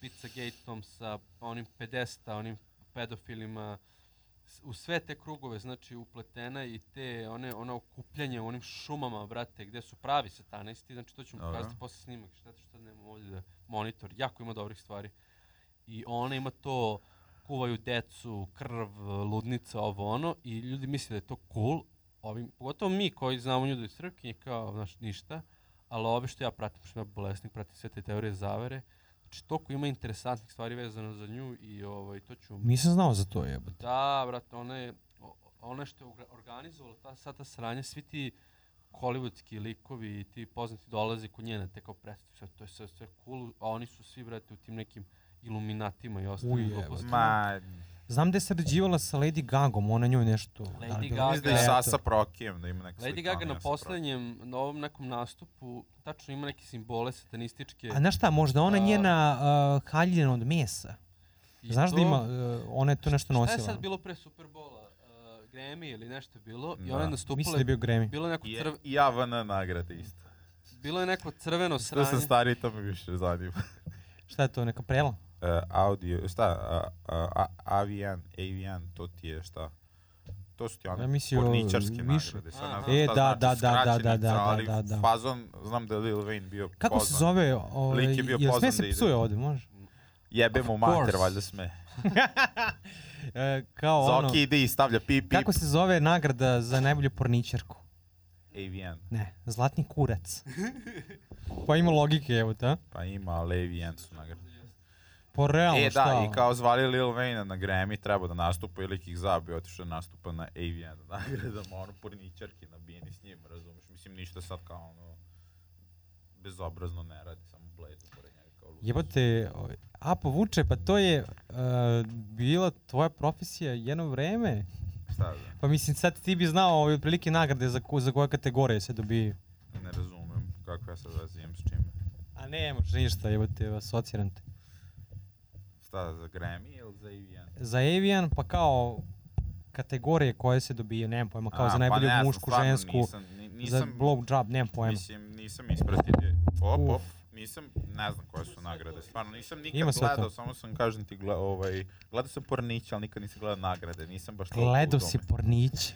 Speaker 4: Pizzagateom, sa onim pedesta, onim pedofilima, s- u sve te krugove, znači upletena i te one, ono okupljanje u onim šumama, brate, gde su pravi satanisti, znači to ćemo
Speaker 2: Dobro.
Speaker 4: pokazati posle snimak, šta što nemamo ovdje da monitor, jako ima dobrih stvari. I ona ima to, kuvaju decu, krv, ludnica, ovo ono, i ljudi misle da je to cool, ovim, pogotovo mi koji znamo ljudi iz Srpkinje, kao, znaš, ništa, ali ove što ja pratim, što ja bolesnik, pratim sve te teorije zavere, znači toliko ima interesantnih stvari vezano za nju i ovaj, to ću
Speaker 3: Nisam znao za to jebote.
Speaker 4: Da, brate, ona je, o- ona što je orga- organizovala ta, sva ta sranja, svi ti hollywoodski likovi i ti poznati dolaze kod njene te kao predstavu, sve, to je sve, sve cool, a oni su svi, brate, u tim nekim iluminatima i
Speaker 3: Uj,
Speaker 4: ostalim
Speaker 3: evo.
Speaker 4: glupostima.
Speaker 2: Ma,
Speaker 3: Znam da je sarađivala sa Lady Gagom, ona njoj nešto...
Speaker 4: Lady
Speaker 3: bila-
Speaker 4: Gaga.
Speaker 2: mislim da je
Speaker 4: Gaga.
Speaker 2: Sasa Prokijem, da ima neka
Speaker 4: Lady Gaga na poslednjem, na ovom nekom nastupu, tačno ima neke simbole satanističke.
Speaker 3: A znaš šta, možda ona
Speaker 4: A-
Speaker 3: njena uh, haljina od mesa.
Speaker 4: i
Speaker 3: Znaš da
Speaker 4: to-
Speaker 3: ima, uh, ona je to nešto nosila.
Speaker 4: Šta je sad bilo pre Superbola? Uh, Grammy ili nešto je bilo? I ona
Speaker 2: Da.
Speaker 4: je nastupala,
Speaker 3: Mislim da je bio Grammy.
Speaker 4: bilo je neko,
Speaker 2: Je,
Speaker 4: crv,
Speaker 2: I AVN nagrade isto.
Speaker 4: bilo je neko crveno
Speaker 2: Što sam
Speaker 4: sranje.
Speaker 2: stari, to me više zanima.
Speaker 3: Šta je to, neka prela?
Speaker 2: E, audio, šta, a, a, a, AVN, AVN, to ti je šta? To su ti
Speaker 3: Ja
Speaker 2: one
Speaker 3: mislio,
Speaker 2: porničarske
Speaker 3: više.
Speaker 2: nagrade. Sad ne
Speaker 4: Aha.
Speaker 2: znam
Speaker 3: E,
Speaker 2: šta
Speaker 3: da,
Speaker 2: znači
Speaker 3: da, da, da, da,
Speaker 2: skraćenica,
Speaker 3: da,
Speaker 2: ali
Speaker 3: da, da.
Speaker 2: Fazon, znam da je Lil Wayne bio
Speaker 3: Kako
Speaker 2: poznan.
Speaker 3: se zove? Ovaj,
Speaker 2: Lik je bio
Speaker 3: jel sme
Speaker 2: pozvan
Speaker 3: se
Speaker 2: da ide.
Speaker 3: psuje ovde, može?
Speaker 2: Jebe mu
Speaker 4: Of
Speaker 2: mater,
Speaker 4: course.
Speaker 2: valjda sme.
Speaker 3: E, kao ono,
Speaker 2: Zoki ide i stavlja pip, pip,
Speaker 3: kako se zove nagrada za najbolju porničarku?
Speaker 2: AVN.
Speaker 3: Ne, Zlatni kurac. Pa ima logike, evo ta.
Speaker 2: Pa ima, ali AVN su nagrade.
Speaker 3: Po realno,
Speaker 2: E,
Speaker 3: šta? ono?
Speaker 2: da, i kao zvali Lil Wayne na Grammy, treba da nastupa ili ih zabio, otišao da nastupa na AVN, da nagradama, ono, porničarki nabijeni s njim, razumeš? Mislim, ništa sad kao ono, bezobrazno ne radi, samo pletu pored njega kao ludo.
Speaker 3: Jebote, ovaj, a povuče, pa to je uh, bila tvoja profesija jedno vreme.
Speaker 2: Šta da,
Speaker 3: Pa mislim, sad ti bi znao ove prilike nagrade za, ko, za koje kategorije se dobiju.
Speaker 2: ne razumem kako ja sad razijem s čime.
Speaker 3: A ne, može ništa, jebote, asociram te.
Speaker 2: Šta, za Grammy ili za AVN?
Speaker 3: Za Avian, pa kao kategorije koje se dobiju, nemam pojma, kao
Speaker 2: A,
Speaker 3: za
Speaker 2: pa
Speaker 3: najbolju
Speaker 2: ne, ja sam
Speaker 3: mušku,
Speaker 2: stvarno
Speaker 3: žensku,
Speaker 2: Nisam, ni-
Speaker 3: za
Speaker 2: nisam,
Speaker 3: blowjob, nemam pojma.
Speaker 2: Mislim, nisam ispratio. Op,
Speaker 3: Uf.
Speaker 2: op, nisam, ne znam koje su nagrade, stvarno, nisam nikad
Speaker 3: Ima sve to.
Speaker 2: gledao, samo sam, kažem ti, gle, ovaj, gledao sam Pornić, ali nikad nisam gledao nagrade, nisam baš toliko u
Speaker 3: Gledao
Speaker 2: tome.
Speaker 3: si pornić.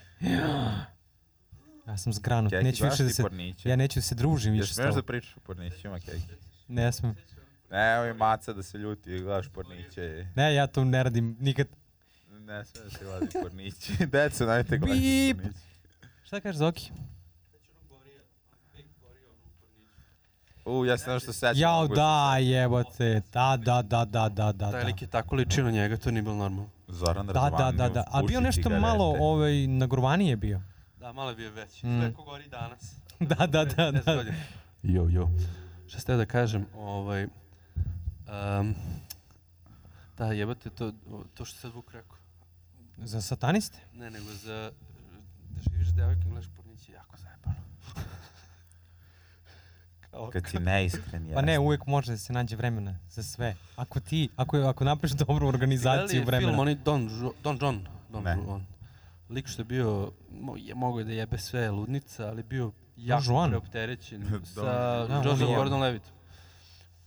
Speaker 3: Ja sam zgranut,
Speaker 2: Keki,
Speaker 3: neću
Speaker 2: gledaš
Speaker 3: više da
Speaker 2: ti
Speaker 3: se...
Speaker 2: Porniće?
Speaker 3: Ja neću da se družim
Speaker 2: Jel
Speaker 3: više s
Speaker 2: smeš da
Speaker 3: tobom.
Speaker 2: pričaš o Pornićima, Keki?
Speaker 3: Ne smem.
Speaker 2: Ne, ovaj maca da se ljuti, gledaš Porniće,
Speaker 3: Ne, ja to ne radim nikad.
Speaker 2: ne smeš da se gleda Porniće, deco, najte gledati
Speaker 3: Bip.
Speaker 2: Porniće.
Speaker 3: Šta kažeš, Zoki?
Speaker 2: U, ja se nešto sećam.
Speaker 3: Jao,
Speaker 2: mogu-
Speaker 3: da, jebote. Da, da, da, da, da, da,
Speaker 4: Taj
Speaker 3: da.
Speaker 4: lik je tako ličio na njega, to nije bilo normalno.
Speaker 2: Zoran
Speaker 3: Da, da, da, da. A bio nešto malo ovaj, nagrovanije je bio.
Speaker 4: Da, malo je bio veći.
Speaker 3: Mm.
Speaker 4: Mm. Sve ko gori danas.
Speaker 3: Da, da, da,
Speaker 4: 50
Speaker 3: da.
Speaker 4: godina. Jo, jo. Šta ste da kažem, ovaj... Um, da, jebate, to, to što sad Vuk rekao.
Speaker 3: Za sataniste?
Speaker 4: Ne, nego za... Da živiš s devojkom, gledaš porniće, jako zajebano. Kao,
Speaker 2: Kad si neiskren, ja.
Speaker 3: Pa ne, uvek može da se nađe vremena za sve. Ako ti, ako, ako napraviš dobru
Speaker 4: Gledali
Speaker 3: organizaciju
Speaker 4: je film,
Speaker 3: vremena.
Speaker 4: oni Don, Ju- Don John. Don
Speaker 2: Ne.
Speaker 4: Juan. Lik što je bio, mo, je, mogo je da jebe sve ludnica, ali bio jako
Speaker 3: Juan?
Speaker 4: preopterećen
Speaker 2: Don-
Speaker 4: sa
Speaker 3: Da, on
Speaker 4: Joseph
Speaker 3: je-
Speaker 4: Gordon Levitt.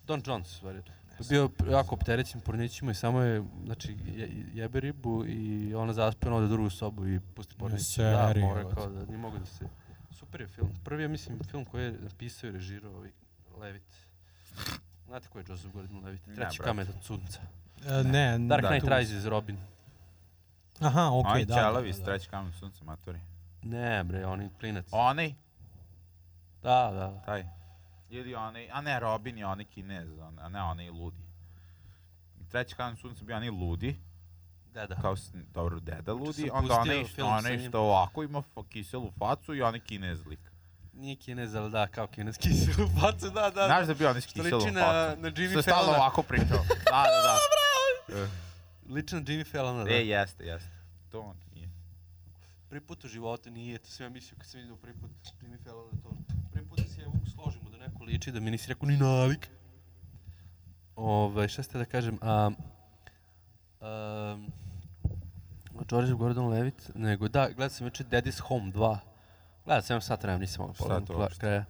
Speaker 4: Don Jones, stvari. Bio jako opterećen pornićima i samo je, znači, je, jebe ribu i ona zaspe na ode u drugu sobu i pusti pornić. Da,
Speaker 3: serio,
Speaker 4: mora
Speaker 3: brate.
Speaker 4: kao da nije mogu da se... Super je film. Prvi je, mislim, film koji je napisao i režirao ovaj Levitt. Znate ko je Joseph Gordon Levitt?
Speaker 2: Ne,
Speaker 4: Treći
Speaker 2: brate.
Speaker 4: kamen od sunca.
Speaker 3: E, ne,
Speaker 4: Dark
Speaker 2: Da,
Speaker 4: Knight
Speaker 3: tu-
Speaker 4: Rises, Robin.
Speaker 3: Aha, okej,
Speaker 2: Oni
Speaker 3: da. da,
Speaker 2: ćelavi,
Speaker 3: da, da.
Speaker 2: streći kamen sunce, matori.
Speaker 4: Ne, bre, on je klinac.
Speaker 2: Onaj,
Speaker 4: Da, da.
Speaker 2: Taj. Ili onaj, a ne Robin je onaj kinez, on, a ne onaj ludi. I Treći kamen sunca bio onaj ludi,
Speaker 4: Da, da.
Speaker 2: kao s- dobro deda ludi,
Speaker 4: sam
Speaker 2: onda
Speaker 4: Znači, pustio
Speaker 2: onaj što,
Speaker 4: film sa
Speaker 2: onaj
Speaker 4: njim.
Speaker 2: što ovako ima fa- kiselu facu i onaj kinez lik.
Speaker 4: Nije kinez, ali da, kao kineski silu facu, da, da.
Speaker 2: Znaš da je bio onaj s
Speaker 4: Što
Speaker 2: kiselom
Speaker 4: liči na-
Speaker 2: facom?
Speaker 4: na Jimmy
Speaker 2: Što je stalno
Speaker 4: Fallona.
Speaker 2: ovako pričao. Da, da,
Speaker 4: Ličan Jimmy Fallon,
Speaker 2: da.
Speaker 4: da.
Speaker 2: E, jeste, jeste. To on nije.
Speaker 4: Prvi put u životu nije, to sam ja mislio kad sam vidio prvi put Jimmy Fallon, da to on. Prvi put da se ja Vuk složimo da neko liči, da mi nisi rekao ni nalik. Ove, šta ste da kažem, a... Um, George Gordon Levitt, nego da, gledao sam juče Daddy's Home 2. Gledao sam jedan sat vremena, nisam mogao
Speaker 2: Šta je
Speaker 4: pogledam
Speaker 2: to
Speaker 4: kla-
Speaker 2: uopšte?
Speaker 4: kraja.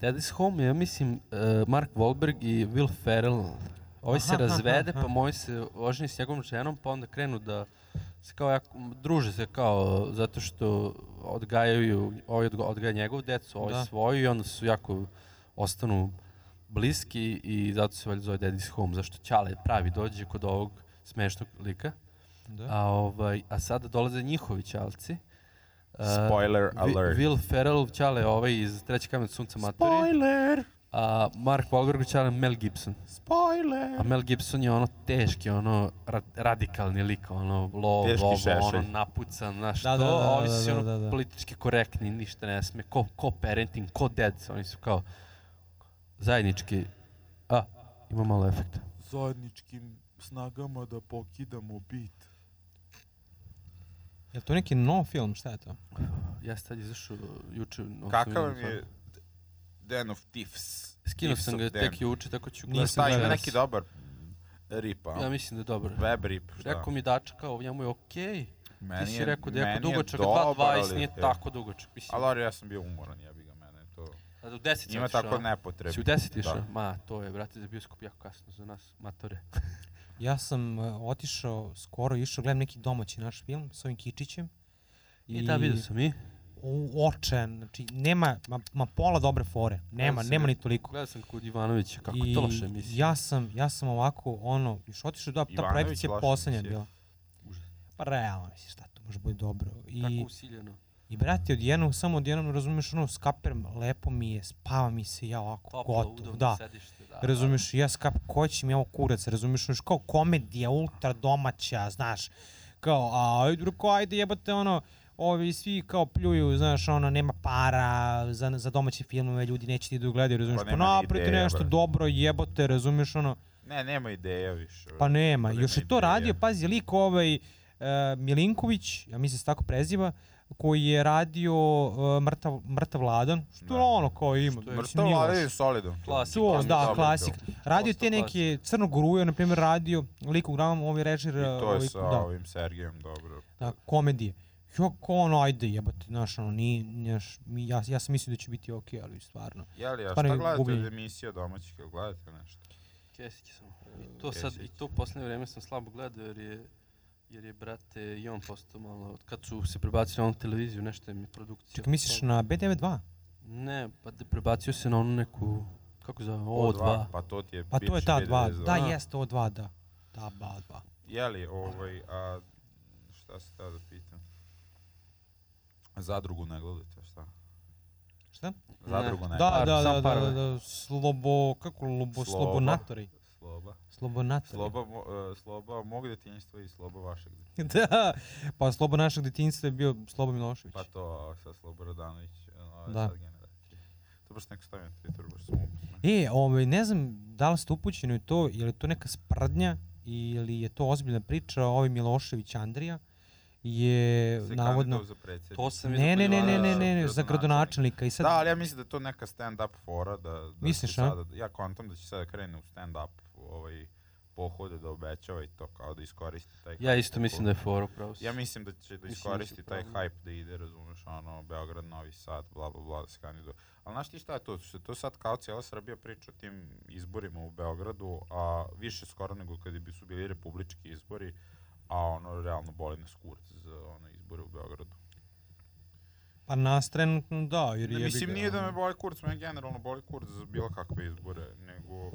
Speaker 4: Dead is Home, ja mislim, uh, Mark Wahlberg i Will Ferrell. Ovaj se
Speaker 3: Aha, aha,
Speaker 4: razvede,
Speaker 3: aha.
Speaker 4: pa moj se oženi s njegovom ženom, pa onda krenu da se kao jako, druže se kao, zato što odgajaju, ovaj odga- odgaja njegovu decu, ovaj
Speaker 3: Da.
Speaker 4: svoju i onda su jako, ostanu bliski i zato se valjda zove Dead is Home, zašto Ćale pravi dođe kod ovog smešnog lika.
Speaker 3: Da.
Speaker 4: A, ovaj, a sada dolaze njihovi Ćalci. Uh,
Speaker 2: Spoiler
Speaker 4: Vi-
Speaker 2: alert.
Speaker 4: Will Ferrell Ćale ovaj iz Treće kamen sunca Maturi.
Speaker 2: Spoiler!
Speaker 4: A Mark Wahlberg Ćale Mel Gibson. A
Speaker 2: Spoiler!
Speaker 4: Mel Gibson je ono teški, ono ra radikalni lik, ono lov,
Speaker 2: Teški
Speaker 4: ovo,
Speaker 2: šešelj.
Speaker 4: ono napucan, znaš
Speaker 3: Da,
Speaker 4: to.
Speaker 3: da, da,
Speaker 4: a ovi
Speaker 3: da,
Speaker 4: su
Speaker 3: da,
Speaker 4: ono
Speaker 3: da, da.
Speaker 4: politički korektni, ništa ne sme. Ko, ko parenting, ko dad, oni su kao zajednički. A, ima malo efekta.
Speaker 5: Zajedničkim snagama da pokidamo bit.
Speaker 3: Je to neki nov film, šta je to?
Speaker 4: Pa, Ja sam tad izašao juče. odnosno
Speaker 2: Kakav vam
Speaker 4: vidim,
Speaker 2: je Den of Thieves?
Speaker 4: Skinuo
Speaker 2: Thieves
Speaker 4: sam
Speaker 2: of
Speaker 4: ga
Speaker 2: Dan?
Speaker 4: tek juče, tako ću
Speaker 3: Nisam
Speaker 2: Šta
Speaker 4: gledati.
Speaker 2: ima
Speaker 3: gledao.
Speaker 2: neki dobar rip, a?
Speaker 4: Ja mislim da je dobro.
Speaker 2: Web rip, šta?
Speaker 4: Rekao mi dača kao, njemu je okej.
Speaker 2: Meni
Speaker 4: Ti si
Speaker 2: je-
Speaker 4: rekao da je jako
Speaker 2: meni je
Speaker 4: dugačak,
Speaker 2: dobar,
Speaker 4: 2.20
Speaker 2: ali-
Speaker 4: nije
Speaker 2: e,
Speaker 4: tako dugačak. Mislim,
Speaker 2: Ali ali ja sam bio umoran, jebi ga mene, to...
Speaker 4: da u 10 sam
Speaker 2: Ima
Speaker 4: otišao,
Speaker 2: tako
Speaker 4: a?
Speaker 2: nepotrebno.
Speaker 4: ono- Si u 10 išao?
Speaker 2: Da.
Speaker 4: Ma, to je, brate, za bioskop jako kasno za nas, matore.
Speaker 3: Ja sam e, otišao, skoro išao, gledam neki domaći naš film s ovim Kičićem.
Speaker 4: I, E, da, vidio sam i.
Speaker 3: Uočen, znači nema, ma, ma pola dobre fore, nema,
Speaker 4: sam
Speaker 3: nema
Speaker 4: ga.
Speaker 3: ni toliko.
Speaker 4: Gledao sam kod Ivanovića, kako to loše emisija.
Speaker 3: Ja sam, ja sam ovako, ono, još otišao, da, ta
Speaker 2: Ivanović
Speaker 3: projekcija
Speaker 2: loša
Speaker 3: poslednja
Speaker 2: emisija.
Speaker 3: bila. Pa realno, mislim, šta tu može biti dobro. I,
Speaker 4: Tako usiljeno.
Speaker 3: I brate, odjednom, samo odjednom, razumeš, ono, skaperam, lepo mi je, spava mi se, ja ovako,
Speaker 4: Toplo,
Speaker 3: gotovo,
Speaker 4: udobno
Speaker 3: da.
Speaker 4: sedište, da.
Speaker 3: Razumeš, ja skap, ko će mi ovo kurac, razumeš, još kao komedija, ultra domaća, znaš, kao, a, ajde, reko, ajde, jebate, ono, ovi svi kao pljuju, znaš, ono, nema para za, za domaće filmove, ljudi neće ti da gledaju, razumeš, pa
Speaker 2: nema ni
Speaker 3: napravite
Speaker 2: ideja,
Speaker 3: nešto
Speaker 2: brate.
Speaker 3: dobro, jebote, razumeš, ono,
Speaker 2: Ne, nema ideja više.
Speaker 3: pa nema,
Speaker 2: nema
Speaker 3: još je to
Speaker 2: ideja.
Speaker 3: radio, pazi, lik ovaj e, Milinković, ja mislim se tako preziva, koji je radio e, mrtav, mrtav Ladan, što
Speaker 2: Da.
Speaker 3: ono kao ima.
Speaker 4: Što
Speaker 3: mislim,
Speaker 4: je-
Speaker 2: Mrtav
Speaker 3: nije
Speaker 2: ali
Speaker 3: loše.
Speaker 2: je solidan.
Speaker 4: Klasik.
Speaker 3: To,
Speaker 2: Mislim,
Speaker 3: da,
Speaker 2: dobar
Speaker 3: klasik.
Speaker 2: film.
Speaker 3: Radio te
Speaker 4: Posto
Speaker 3: neke Crnog Ruja, na primjer, radio, lik uglavnom ovaj režir
Speaker 2: I to je
Speaker 3: ovaj,
Speaker 2: sa
Speaker 3: da,
Speaker 2: ovim Sergejem, dobro.
Speaker 3: da, komedije. Jo, ko ono, ajde jebate, znaš, ono, nije, znaš, mi, ja, ja sam mislio da će biti okej, ali stvarno.
Speaker 2: Jeli, a šta
Speaker 3: Stvarno je
Speaker 2: gledate od
Speaker 3: gubljenje.
Speaker 2: emisija domaćih, jel gledate nešto?
Speaker 4: Kesić sam. I to sad,
Speaker 2: Kesić.
Speaker 4: i to u posljednje vreme sam slabo gledao jer je jer je, brate, i on postao malo, od kad su se prebacili na onu televiziju, nešto je mi produkcija.
Speaker 3: Čekaj, misliš na B92?
Speaker 4: Ne, pa da prebacio se na onu neku, kako zove, O2.
Speaker 2: Pa to ti je
Speaker 3: Pa to je
Speaker 2: bivši
Speaker 3: ta dva,
Speaker 2: B92.
Speaker 3: da,
Speaker 4: A.
Speaker 3: jeste o dva, da. Da, ba, dva.
Speaker 2: Jeli, ovaj, a šta se tada pitam? Zadrugu ne gledate, šta?
Speaker 3: Šta?
Speaker 2: Zadrugu ne,
Speaker 3: Da,
Speaker 4: Par-
Speaker 3: da,
Speaker 4: samo
Speaker 3: da, da,
Speaker 4: parove.
Speaker 3: da, da, slobo, kako, lobo,
Speaker 2: Sloba.
Speaker 3: slobonatori.
Speaker 2: Sloba.
Speaker 3: Slobonatori.
Speaker 2: Sloba, mo, e, sloba mog detinjstva i sloba vašeg detinjstva.
Speaker 3: da, pa slobo našeg detinjstva je bio Slobo Milošević.
Speaker 4: Znači.
Speaker 2: Pa to, a sa Sloba Radanović, ove
Speaker 3: Da.
Speaker 2: sad generacije. To baš neko stavio na Twitter, baš sam upoznao.
Speaker 3: E, ovaj, ne znam da li ste upućeni u to, je li to neka sprdnja ili je to ozbiljna priča, ovaj Milošević Andrija je
Speaker 2: Se
Speaker 3: navodno...
Speaker 2: kandidao za predsjednika.
Speaker 4: e, To sam
Speaker 3: Ne, ne, ne, ne, ne, ne, ne, za
Speaker 2: Gradonačelnik.
Speaker 3: gradonačelnika i sad...
Speaker 2: Da, ali ja mislim da je to neka stand-up fora. Da, da
Speaker 3: Misliš,
Speaker 2: će
Speaker 3: a?
Speaker 2: sada, Ja kontam da će sada krene u stand-up ovaj, pohode da obećava i to kao da iskoristi taj
Speaker 4: Ja isto mislim da je fora, pravo si.
Speaker 2: Ja mislim da će da
Speaker 4: Mislim da će
Speaker 2: iskoristi taj
Speaker 4: upravo.
Speaker 2: hype da ide, razumeš, ono, Beograd, Novi Sad, bla, bla, bla, da se kandiduje. Ali znaš ti šta je to? Što je to sad kao cijela Srbija priča o tim izborima u Beogradu, a više skoro nego kada bi su bili republički izbori, a ono, realno boli nas kurac za ono, izbore u Beogradu.
Speaker 3: Pa nas trenutno da, jer
Speaker 2: Ne,
Speaker 3: jebi
Speaker 2: mislim,
Speaker 3: ga,
Speaker 2: nije da
Speaker 3: ono.
Speaker 2: me boli kurc, mene generalno boli kurc za bilo kakve izbore, nego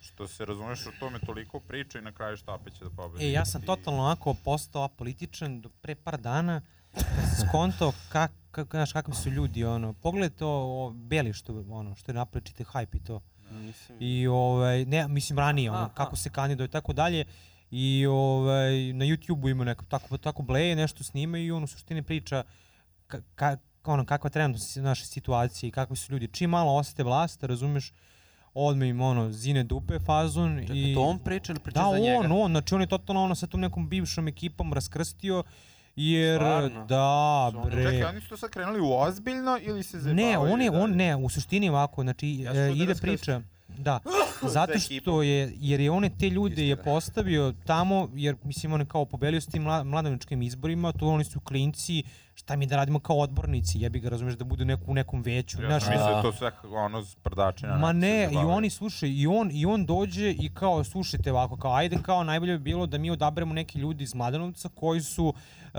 Speaker 2: što se razumeš o tome toliko priča i na kraju štape će da pobedi.
Speaker 3: E, ja sam
Speaker 2: I-
Speaker 3: totalno onako postao apolitičan do pre par dana kad sam skonto kak, kak, znaš, kakvi su ljudi, ono, pogledajte o, o Beli što, ono, što je napravio čite hype i to.
Speaker 4: Nisam
Speaker 3: I ovaj ne mislim ranije ono
Speaker 4: Aha.
Speaker 3: kako se kandiduje i tako dalje. I ovaj na YouTubeu ima neko tako tako bleje nešto snima i on u suštini priča ka, ka, ono kakva je trenutno si- naša situacija i kakvi su ljudi. Čim malo osete vlast, razumeš, odme im ono zine dupe fazon
Speaker 4: Čekaj,
Speaker 3: i
Speaker 4: to on priča ili priča
Speaker 3: da,
Speaker 4: za njega?
Speaker 3: on, on, znači on je totalno ono sa tom nekom bivšom ekipom raskrstio jer
Speaker 4: Stvarno?
Speaker 3: da
Speaker 4: Su oni-
Speaker 3: bre.
Speaker 2: Čekaj, oni su to sad krenuli u ozbiljno ili se
Speaker 3: Ne,
Speaker 2: zajebavaju
Speaker 3: on
Speaker 2: i
Speaker 3: je,
Speaker 2: dalje?
Speaker 3: on ne, u suštini ovako, znači
Speaker 2: Ja sam
Speaker 3: e,
Speaker 2: čuo da
Speaker 3: ide
Speaker 2: raskrsti.
Speaker 3: priča, Da, zato što je, jer je one te ljude je
Speaker 2: Istira.
Speaker 3: postavio tamo, jer mislim on je kao pobelio s tim mla, mladeničkim izborima, to oni su klinci, šta mi da radimo kao odbornici, jebi ga razumeš da budu neku, u nekom veću.
Speaker 2: Ja
Speaker 3: znaš,
Speaker 2: sam
Speaker 4: mi-
Speaker 2: mislio da je to sve kako ono sprdačina.
Speaker 3: Ma
Speaker 2: nekako se
Speaker 3: ne, i
Speaker 2: zabavljaju.
Speaker 3: oni slušaj, i on, i on dođe i kao slušajte ovako, kao ajde kao najbolje bi bilo da mi odaberemo neki ljudi iz Mladenovca koji su uh,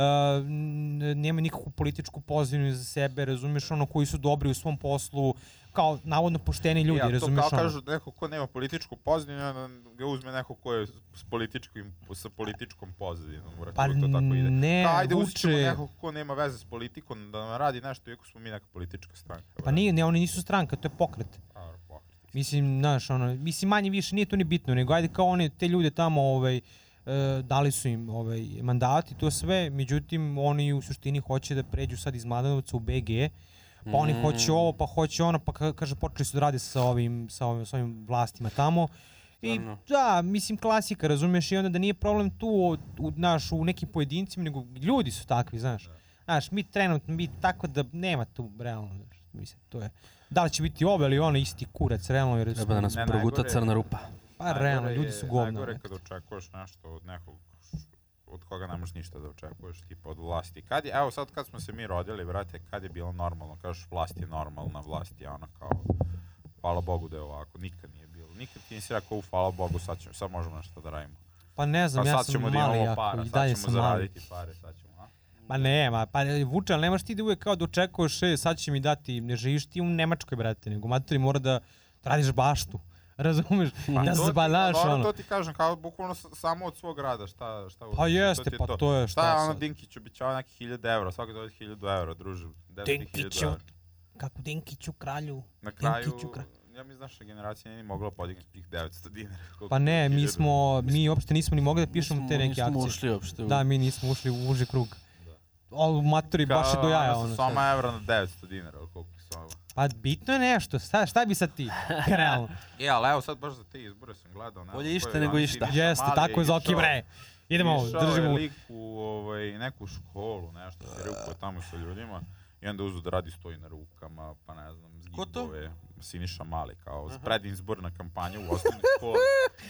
Speaker 3: nemaju nikakvu političku pozivnju za sebe, razumeš ono, koji su dobri u svom poslu, kao navodno pošteni ljudi,
Speaker 2: ja,
Speaker 3: razumeš
Speaker 2: to kao
Speaker 3: ono.
Speaker 2: kažu da neko ko nema političku pozadinu, onda ga uzme neko ko je s političkim, sa političkom pozadinom. Vrat,
Speaker 3: Pa
Speaker 2: to tako ide.
Speaker 3: ne,
Speaker 2: Kao, ajde,
Speaker 3: Vuče-
Speaker 2: uzet ćemo nekog ko nema veze s politikom da nam radi nešto, iako smo mi neka politička stranka.
Speaker 3: Pa
Speaker 2: brate.
Speaker 3: nije, ne, oni nisu stranka, to je pokret.
Speaker 2: A, pokret.
Speaker 3: Mislim, znaš, ono, mislim manje više nije to ni bitno, nego ajde kao one, te ljude tamo, ovaj, e, dali su im ovaj, mandati, to sve, međutim, oni u suštini hoće da pređu sad iz Mladenovca u BG, pa oni
Speaker 4: Mm.
Speaker 3: hoće ovo, pa hoće ono, pa ka- kaže, počeli su da rade sa ovim, sa ovim, sa ovim vlastima tamo, I
Speaker 4: Stvarno?
Speaker 3: da, mislim klasika, razumeš, i onda da nije problem tu o- u, naš, u nekim pojedincima, nego ljudi su takvi, znaš. Znaš, mi trenutno, mi tako da nema tu, realno, znaš, mislim, to je. Da li će biti ovo ili ono isti kurac, realno, jer
Speaker 4: Treba da nas
Speaker 2: Ne,
Speaker 4: proguta
Speaker 2: najgore-
Speaker 4: crna rupa.
Speaker 3: pa
Speaker 2: Najgore
Speaker 3: realno, ljudi
Speaker 2: je-
Speaker 3: su govno.
Speaker 2: Najgore je
Speaker 3: bre.
Speaker 2: kad očekuješ nešto od nekog š- od koga ne možeš ništa da očekuješ, tipa od vlasti. Kad je, evo sad kad smo se mi rodili, brate, kad je bilo normalno, kažeš vlast je normalna, vlast je ona kao, hvala Bogu da je ovako, nikad nije bilo. Nikad ti nisi rekao, u, hvala Bogu, sad, ćemo, sad možemo nešto da radimo.
Speaker 3: Pa ne
Speaker 2: Pa
Speaker 3: znam, ja
Speaker 2: sad
Speaker 3: sam
Speaker 2: ćemo da
Speaker 3: mali
Speaker 2: imamo
Speaker 3: jako,
Speaker 2: para,
Speaker 3: i
Speaker 2: sad
Speaker 3: dalje
Speaker 2: ćemo
Speaker 3: sam mali.
Speaker 2: zaraditi pare, sad ćemo, a?
Speaker 3: Ma nema, pa e, Vuče, ali nemaš ti da uvek kao da očekuješ, e, sad će mi dati, ne živiš ti u Nemačkoj, brate, nego maturi mora da radiš baštu. Razumeš? da
Speaker 2: to ti-
Speaker 3: zabalaš
Speaker 2: dobro,
Speaker 3: ono.
Speaker 2: To ti kažem, kao bukvalno s- samo od svog rada, šta, šta uradiš,
Speaker 3: Pa
Speaker 2: ti
Speaker 3: jeste,
Speaker 2: je
Speaker 3: pa to je
Speaker 2: Šta je
Speaker 3: šta
Speaker 2: ono
Speaker 3: sad.
Speaker 2: Dinkić običava neki 1000 evra, svaki dobije 1000 evra, druže. gde su ti 1000
Speaker 3: Dinkiću,
Speaker 2: evra?
Speaker 3: kako Dinkiću kralju.
Speaker 2: Na kraju,
Speaker 3: Dinkiću kralju.
Speaker 2: ja mislim naša generacija nije ni mogla podignuti tih 900 dinara. koliko
Speaker 3: Pa ne,
Speaker 2: je
Speaker 3: mi
Speaker 2: 1000.
Speaker 3: smo, mi uopšte nismo ni mogli da pišemo te neke
Speaker 4: Nismo
Speaker 3: akcije.
Speaker 4: ušli uopšte u...
Speaker 3: Da, mi nismo ušli u uži krug. Al maturi baš je do jaja
Speaker 2: Kao,
Speaker 3: ono.
Speaker 2: Soma
Speaker 3: sad.
Speaker 2: evra na 900 dinara, ili koliko su ovo.
Speaker 3: Pa bitno je nešto, šta, šta bi sad ti? Realno.
Speaker 2: E, ali evo sad baš za te izbore sam gledao. ne znam
Speaker 4: Bolje
Speaker 2: ko je
Speaker 4: išta
Speaker 2: bio,
Speaker 4: nego
Speaker 2: Ante
Speaker 4: išta.
Speaker 2: Niša
Speaker 3: Jeste,
Speaker 2: Mali
Speaker 3: tako je Zoki
Speaker 2: išao-
Speaker 3: bre. Idemo,
Speaker 2: Išao je
Speaker 3: držimo.
Speaker 2: lik u ovaj, neku školu, nešto se rukuje tamo sa ljudima. I onda uzu da radi stoji na rukama, pa ne znam,
Speaker 4: Ko to?
Speaker 2: zgibove, Siniša Mali, kao pred izborna kampanja u osnovnoj školi.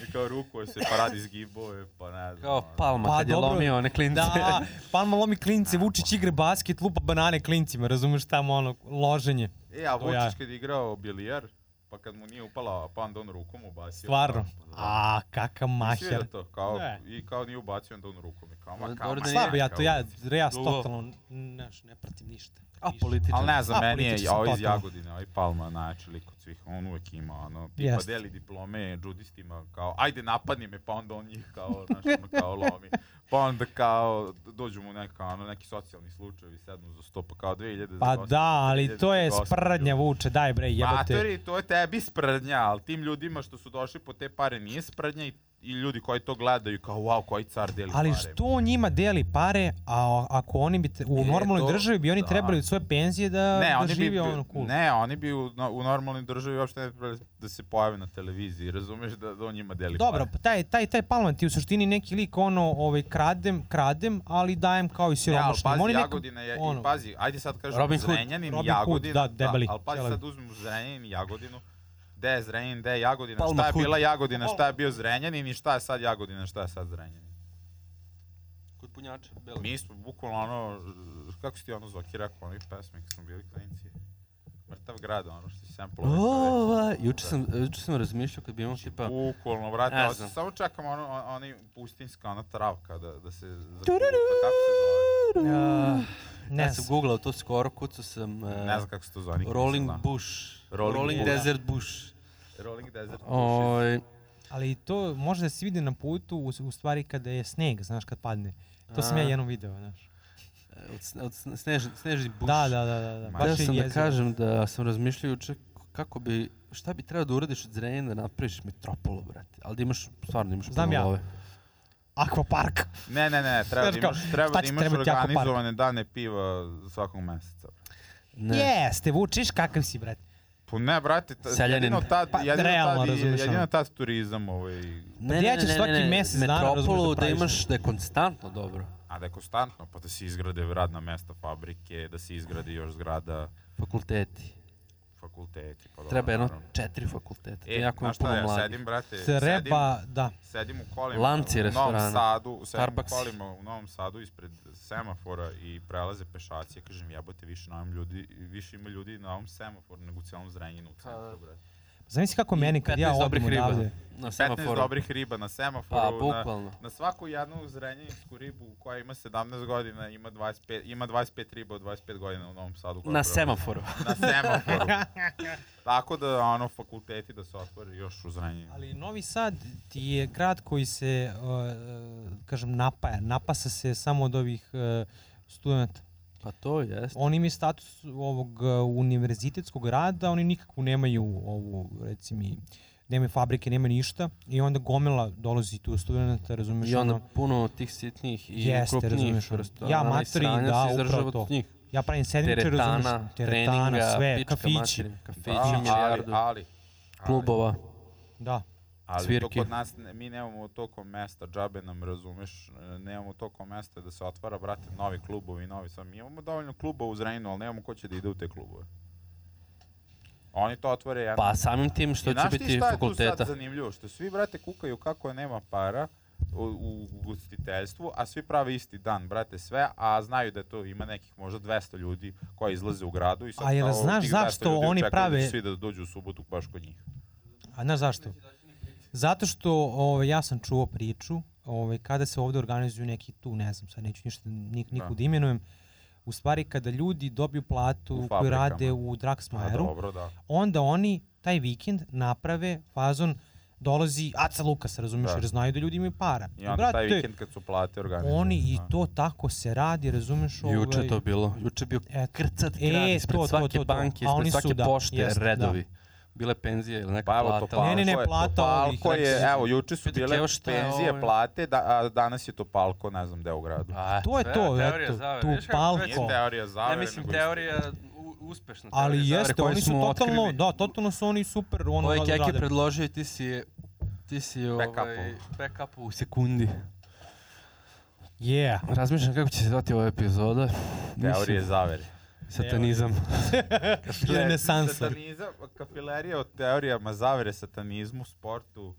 Speaker 2: I kao rukuje se, pa radi zgibove, pa ne znam.
Speaker 4: Kao
Speaker 2: ono.
Speaker 4: Palma,
Speaker 3: Pa
Speaker 4: kad je
Speaker 3: dobro.
Speaker 4: lomio one klince.
Speaker 3: Da, Palma lomi klince, Vučić igre basket, lupa banane klincima, razumeš tamo ono, loženje.
Speaker 2: E, a
Speaker 3: Do jaja.
Speaker 2: Vučić kad je igrao bilijar, pa kad mu nije upala, pa onda on rukom ubacio.
Speaker 3: Stvarno.
Speaker 2: Pa,
Speaker 3: A, kakav
Speaker 2: Maher.
Speaker 3: maher.
Speaker 2: to, kao,
Speaker 3: Ne.
Speaker 2: I kao nije ubacio, onda on rukom. I kao, ma,
Speaker 4: Ma,
Speaker 2: kao,
Speaker 4: dobro
Speaker 2: ma,
Speaker 4: da nije.
Speaker 3: Slabo ja to, ja, ja
Speaker 4: Dugo.
Speaker 3: totalno, znaš, ne pratim ništa.
Speaker 4: A
Speaker 3: Ništa.
Speaker 4: političan.
Speaker 2: Ali ne znam,
Speaker 3: A,
Speaker 2: meni je
Speaker 3: politički
Speaker 2: ovaj iz
Speaker 3: sam totalno.
Speaker 2: Jagodine, ovaj Palma najjači lik od svih, on uvek ima, ono, tipa
Speaker 3: Jeste.
Speaker 2: deli diplome džudistima, kao, ajde napadni me, pa onda on njih kao, znaš, ono, kao lomi. Pa onda kao, dođu mu neka, ono, neki socijalni slučajevi, sednu za sto, pa kao 2000
Speaker 3: Pa
Speaker 2: za
Speaker 3: da, ali to je
Speaker 2: 1000 za
Speaker 3: sprdnja
Speaker 2: gospođu.
Speaker 3: Vuče, daj bre, jebate.
Speaker 2: Matori, to je tebi sprdnja, ali tim ljudima što su došli po te pare nije sprdnja i, i ljudi koji to gledaju kao wow, koji car deli
Speaker 3: Ali
Speaker 2: pare.
Speaker 3: što on njima deli pare, a ako oni bi, tre- u
Speaker 2: E,
Speaker 3: normalnoj
Speaker 2: to-
Speaker 3: državi bi oni
Speaker 2: da.
Speaker 3: trebali od svoje penzije da,
Speaker 2: ne,
Speaker 3: da
Speaker 2: oni bi,
Speaker 3: živi ono cool.
Speaker 2: ne, oni bi u, no- u normalnoj državi uopšte ne bi trebali da se pojave na televiziji, razumeš da, da on njima deli
Speaker 3: Dobro,
Speaker 2: pare.
Speaker 3: pa taj, taj, taj Palman ti je u suštini neki lik ono, ovaj, kradem, kradem, ali dajem kao i
Speaker 2: Ne, ali
Speaker 3: siromašnim.
Speaker 2: pazi,
Speaker 3: ono Oni neka-
Speaker 2: Jagodina je,
Speaker 3: ono-
Speaker 2: i pa- pazi, ajde sad kažem
Speaker 4: Robin Hood.
Speaker 2: Zrenjanin,
Speaker 3: Robin Hood,
Speaker 2: Jagodina,
Speaker 3: da, debeli,
Speaker 2: ali pazi
Speaker 3: ćelavi.
Speaker 2: sad uzmemo Zrenjanin i Jagodinu, gde je Zrenjanin, gde je Jagodina,
Speaker 4: Palma
Speaker 2: šta je
Speaker 4: Hood.
Speaker 2: bila Jagodina, šta je bio Zrenjanin i šta je sad Jagodina, šta je sad Zrenjanin.
Speaker 4: Kod punjača, beli.
Speaker 2: Mi smo bukvalno ono, ž- kako si ti ono Zoki rekao, onih pesmi kad smo bili klinici. Mrtav grad, ono što si semplovao.
Speaker 4: Ova,
Speaker 3: Ovaj,
Speaker 4: juče sam, juče sam razmišljao kad bi imao tipa...
Speaker 2: Bukvalno, vrate,
Speaker 4: Ne
Speaker 2: ja
Speaker 4: znam.
Speaker 2: samo čekam ono, on- onaj pustinska, ona travka da, da se zaputa, kako se
Speaker 3: Ja,
Speaker 4: Ne
Speaker 3: pa- ne,
Speaker 4: ja sam googlao to skoro, kucao sam...
Speaker 2: zove.
Speaker 4: e,
Speaker 2: Ne znam kako se to zove. nikad nisam
Speaker 4: Rolling
Speaker 2: znao.
Speaker 4: Bush.
Speaker 2: Rolling
Speaker 4: Rolling,
Speaker 2: Bush.
Speaker 4: Desert Bush.
Speaker 2: Rolling Desert. Bushes.
Speaker 3: Ovaj,
Speaker 4: Oj,
Speaker 3: ali to može da se vidi na putu u, u stvari kada je sneg, znaš, kad padne. To sam
Speaker 4: A.
Speaker 3: ja jednom video, znaš.
Speaker 4: od, sne- od sne- snežni, snežni buš.
Speaker 3: Da, da, da, da, da.
Speaker 2: Ma,
Speaker 4: Baš
Speaker 3: Baš je
Speaker 4: sam da
Speaker 3: jezivo.
Speaker 4: kažem da sam razmišljao juče k- kako bi, šta bi trebao da uradiš od Zrenjanina da napraviš metropolu, brate. Ali da imaš, stvarno imaš
Speaker 3: Znam
Speaker 4: puno
Speaker 3: ja.
Speaker 4: love.
Speaker 3: Akvapark.
Speaker 2: Ne, ne, ne, treba da
Speaker 3: Znaš kao,
Speaker 2: imaš, treba
Speaker 3: šta
Speaker 2: da
Speaker 3: će
Speaker 2: imaš
Speaker 3: trebati jako park?
Speaker 2: organizovane dane piva svakog meseca.
Speaker 4: Ne.
Speaker 3: Jeste, Vučiš, kakav si, brate.
Speaker 2: Pa ne, brate, ta,
Speaker 4: Seljanin.
Speaker 2: jedino tad,
Speaker 3: Pa,
Speaker 2: jedino,
Speaker 3: realno,
Speaker 2: tad, je-
Speaker 3: razumeš,
Speaker 2: jedino
Speaker 3: ono.
Speaker 2: tad turizam ovaj,
Speaker 4: Ne,
Speaker 3: Pa ja ću svaki mesec dana,
Speaker 4: Metropolu
Speaker 3: razumeš, da
Speaker 4: da,
Speaker 3: praviš
Speaker 4: imaš, da je konstantno dobro.
Speaker 2: A da je konstantno, pa da se izgrade radna mesta, fabrike, da se izgradi još zgrada.
Speaker 4: Fakulteti.
Speaker 2: fakulteti. Pa dobro,
Speaker 4: Treba jedno
Speaker 2: naravno.
Speaker 4: četiri fakulteta.
Speaker 2: E,
Speaker 4: E, jako ima
Speaker 2: znaš šta,
Speaker 4: puno
Speaker 2: ja
Speaker 4: mladih.
Speaker 2: sedim, brate, E, sedim,
Speaker 3: Treba, da.
Speaker 2: sedim u kolima
Speaker 4: Lanci
Speaker 2: u Novom
Speaker 4: restorana.
Speaker 2: Sadu, sedim
Speaker 4: Starbucks.
Speaker 2: u kolima u Novom Sadu ispred semafora i prelaze pešaci. Ja kažem, jebote, više, na ovom ljudi, više ima ljudi na ovom semaforu nego u celom Zrenjinu u centru, brate.
Speaker 3: Zamisli kako meni kad ja
Speaker 4: 15
Speaker 3: odem
Speaker 4: dobrih riba.
Speaker 3: odavde.
Speaker 4: Na
Speaker 2: 15
Speaker 4: semaforu.
Speaker 2: dobrih riba na semaforu,
Speaker 4: Pa,
Speaker 2: na,
Speaker 4: bukvalno.
Speaker 2: na svaku jednu zrenjaninsku ribu koja ima 17 godina, ima 25, ima 25 riba od 25 godina u Novom Sadu. koja
Speaker 4: Na
Speaker 2: proba-
Speaker 4: semaforu.
Speaker 2: Na semaforu. Tako da, ono, fakulteti da se otvore još u zrenjaninu.
Speaker 3: Ali Novi Sad ti je grad koji se, uh, uh, kažem, napaja. Napasa se samo od ovih uh, studenta.
Speaker 4: Pa to jeste.
Speaker 3: Oni imaju status ovog uh, univerzitetskog rada, oni nikakvu nemaju ovu, recimo, nemaju fabrike, nemaju ništa. I onda gomila dolazi tu studenta, razumeš?
Speaker 4: I onda
Speaker 3: ono,
Speaker 4: puno tih sitnih i
Speaker 3: Jeste,
Speaker 4: krupnijih
Speaker 3: razumeš, ono.
Speaker 4: vrsta.
Speaker 3: Ja,
Speaker 4: ono, i
Speaker 3: materi,
Speaker 4: sranja
Speaker 3: da,
Speaker 4: se izdržava
Speaker 3: upravo to.
Speaker 4: od njih.
Speaker 3: ja pravim sedmiče, razumeš?
Speaker 4: Teretana,
Speaker 3: teretana,
Speaker 4: treninga,
Speaker 3: sve,
Speaker 4: pička
Speaker 3: kafići.
Speaker 4: materina, kafići,
Speaker 2: Da, ali,
Speaker 4: milijardu,
Speaker 2: ali,
Speaker 4: klubova.
Speaker 3: Da.
Speaker 2: ali to
Speaker 4: Svirki.
Speaker 2: kod nas, ne- mi nemamo toliko mesta, džabe nam razumeš, e, nemamo toliko mesta da se otvara, brate, novi klubovi, novi sam. Mi imamo dovoljno klubova u Zrenjinu, ali nemamo ko će da ide u te klubove. Oni to otvore jedan...
Speaker 4: Pa samim tim što
Speaker 2: I
Speaker 4: će
Speaker 2: znaš ti
Speaker 4: biti
Speaker 2: šta je tu sad
Speaker 4: fakulteta.
Speaker 2: zanimljivo? Što svi, brate, kukaju kako nema para u, u ugostiteljstvu, a svi prave isti dan, brate, sve, a znaju da to ima nekih možda 200 ljudi koji izlaze u gradu i sad
Speaker 3: A jel
Speaker 2: kao
Speaker 3: znaš
Speaker 2: tih 200
Speaker 3: zašto
Speaker 2: ljudi
Speaker 3: oni
Speaker 2: očekuju Da
Speaker 3: prave-
Speaker 2: će svi da dođu u subotu baš kod njih.
Speaker 3: A znaš zašto? Zato što ovaj, ja sam čuo priču, ovaj, kada se ovde organizuju neki tu, ne znam, sad neću ništa, nik, nikud da. imenujem, u stvari kada ljudi dobiju
Speaker 2: U
Speaker 3: platu koju
Speaker 2: fabrikama.
Speaker 3: rade u
Speaker 2: A
Speaker 3: Draksmajeru,
Speaker 2: dobro, da.
Speaker 3: onda oni taj vikend naprave fazon dolazi Aca Lukas, razumiješ,
Speaker 2: Da.
Speaker 3: jer znaju da ljudi imaju para.
Speaker 2: I onda taj vikend kad su plate organizuju.
Speaker 3: oni i
Speaker 2: a.
Speaker 3: to tako se radi, razumiješ, ovaj...
Speaker 4: Juče je to bilo. Juče je bio
Speaker 3: Eto.
Speaker 4: krcat
Speaker 3: E,
Speaker 4: grad, ispred
Speaker 3: to, to,
Speaker 4: svake
Speaker 3: to, to.
Speaker 4: banke,
Speaker 3: A oni
Speaker 4: ispred svake
Speaker 3: su, da,
Speaker 4: pošte,
Speaker 3: jeste, da.
Speaker 4: redovi. Bile penzije ili neka
Speaker 2: Pa evo,
Speaker 4: plata.
Speaker 2: to
Speaker 3: Ne, ne, ne, plata ovih,
Speaker 2: Topalko je,
Speaker 3: rekli su-
Speaker 2: evo, juče su
Speaker 4: Pitajte,
Speaker 2: bile
Speaker 4: evo šta je
Speaker 2: penzije,
Speaker 4: ovo?
Speaker 2: plate, da, a danas je Topalko, ne znam, gde u gradu.
Speaker 4: A,
Speaker 3: To je
Speaker 4: sve,
Speaker 3: to,
Speaker 4: teorija
Speaker 3: eto,
Speaker 4: zavere.
Speaker 3: tu
Speaker 4: Viš kako
Speaker 3: palko.
Speaker 4: već-
Speaker 2: Nije teorija zavere,
Speaker 4: Ne mislim
Speaker 2: nego-
Speaker 4: teorija u- uspešna. teorija
Speaker 3: Ali
Speaker 4: zavere
Speaker 3: jeste,
Speaker 4: koju
Speaker 3: oni su
Speaker 4: smo
Speaker 3: totalno,
Speaker 4: otkrili.
Speaker 3: da, totalno su oni super, ono
Speaker 4: Ovo je
Speaker 3: da
Speaker 4: Keki
Speaker 3: rade.
Speaker 4: predložio i ti si je ti si ovaj,
Speaker 2: Backupu.
Speaker 4: backupu u sekundi.
Speaker 3: Yeah.
Speaker 4: Razmišljam kako će se zvati ova epizoda.
Speaker 2: Teorije zavere.
Speaker 4: Satanizam.
Speaker 3: Renesansa.
Speaker 2: Satanizam, kafilerija o teorijama zavere, satanizmu, sportu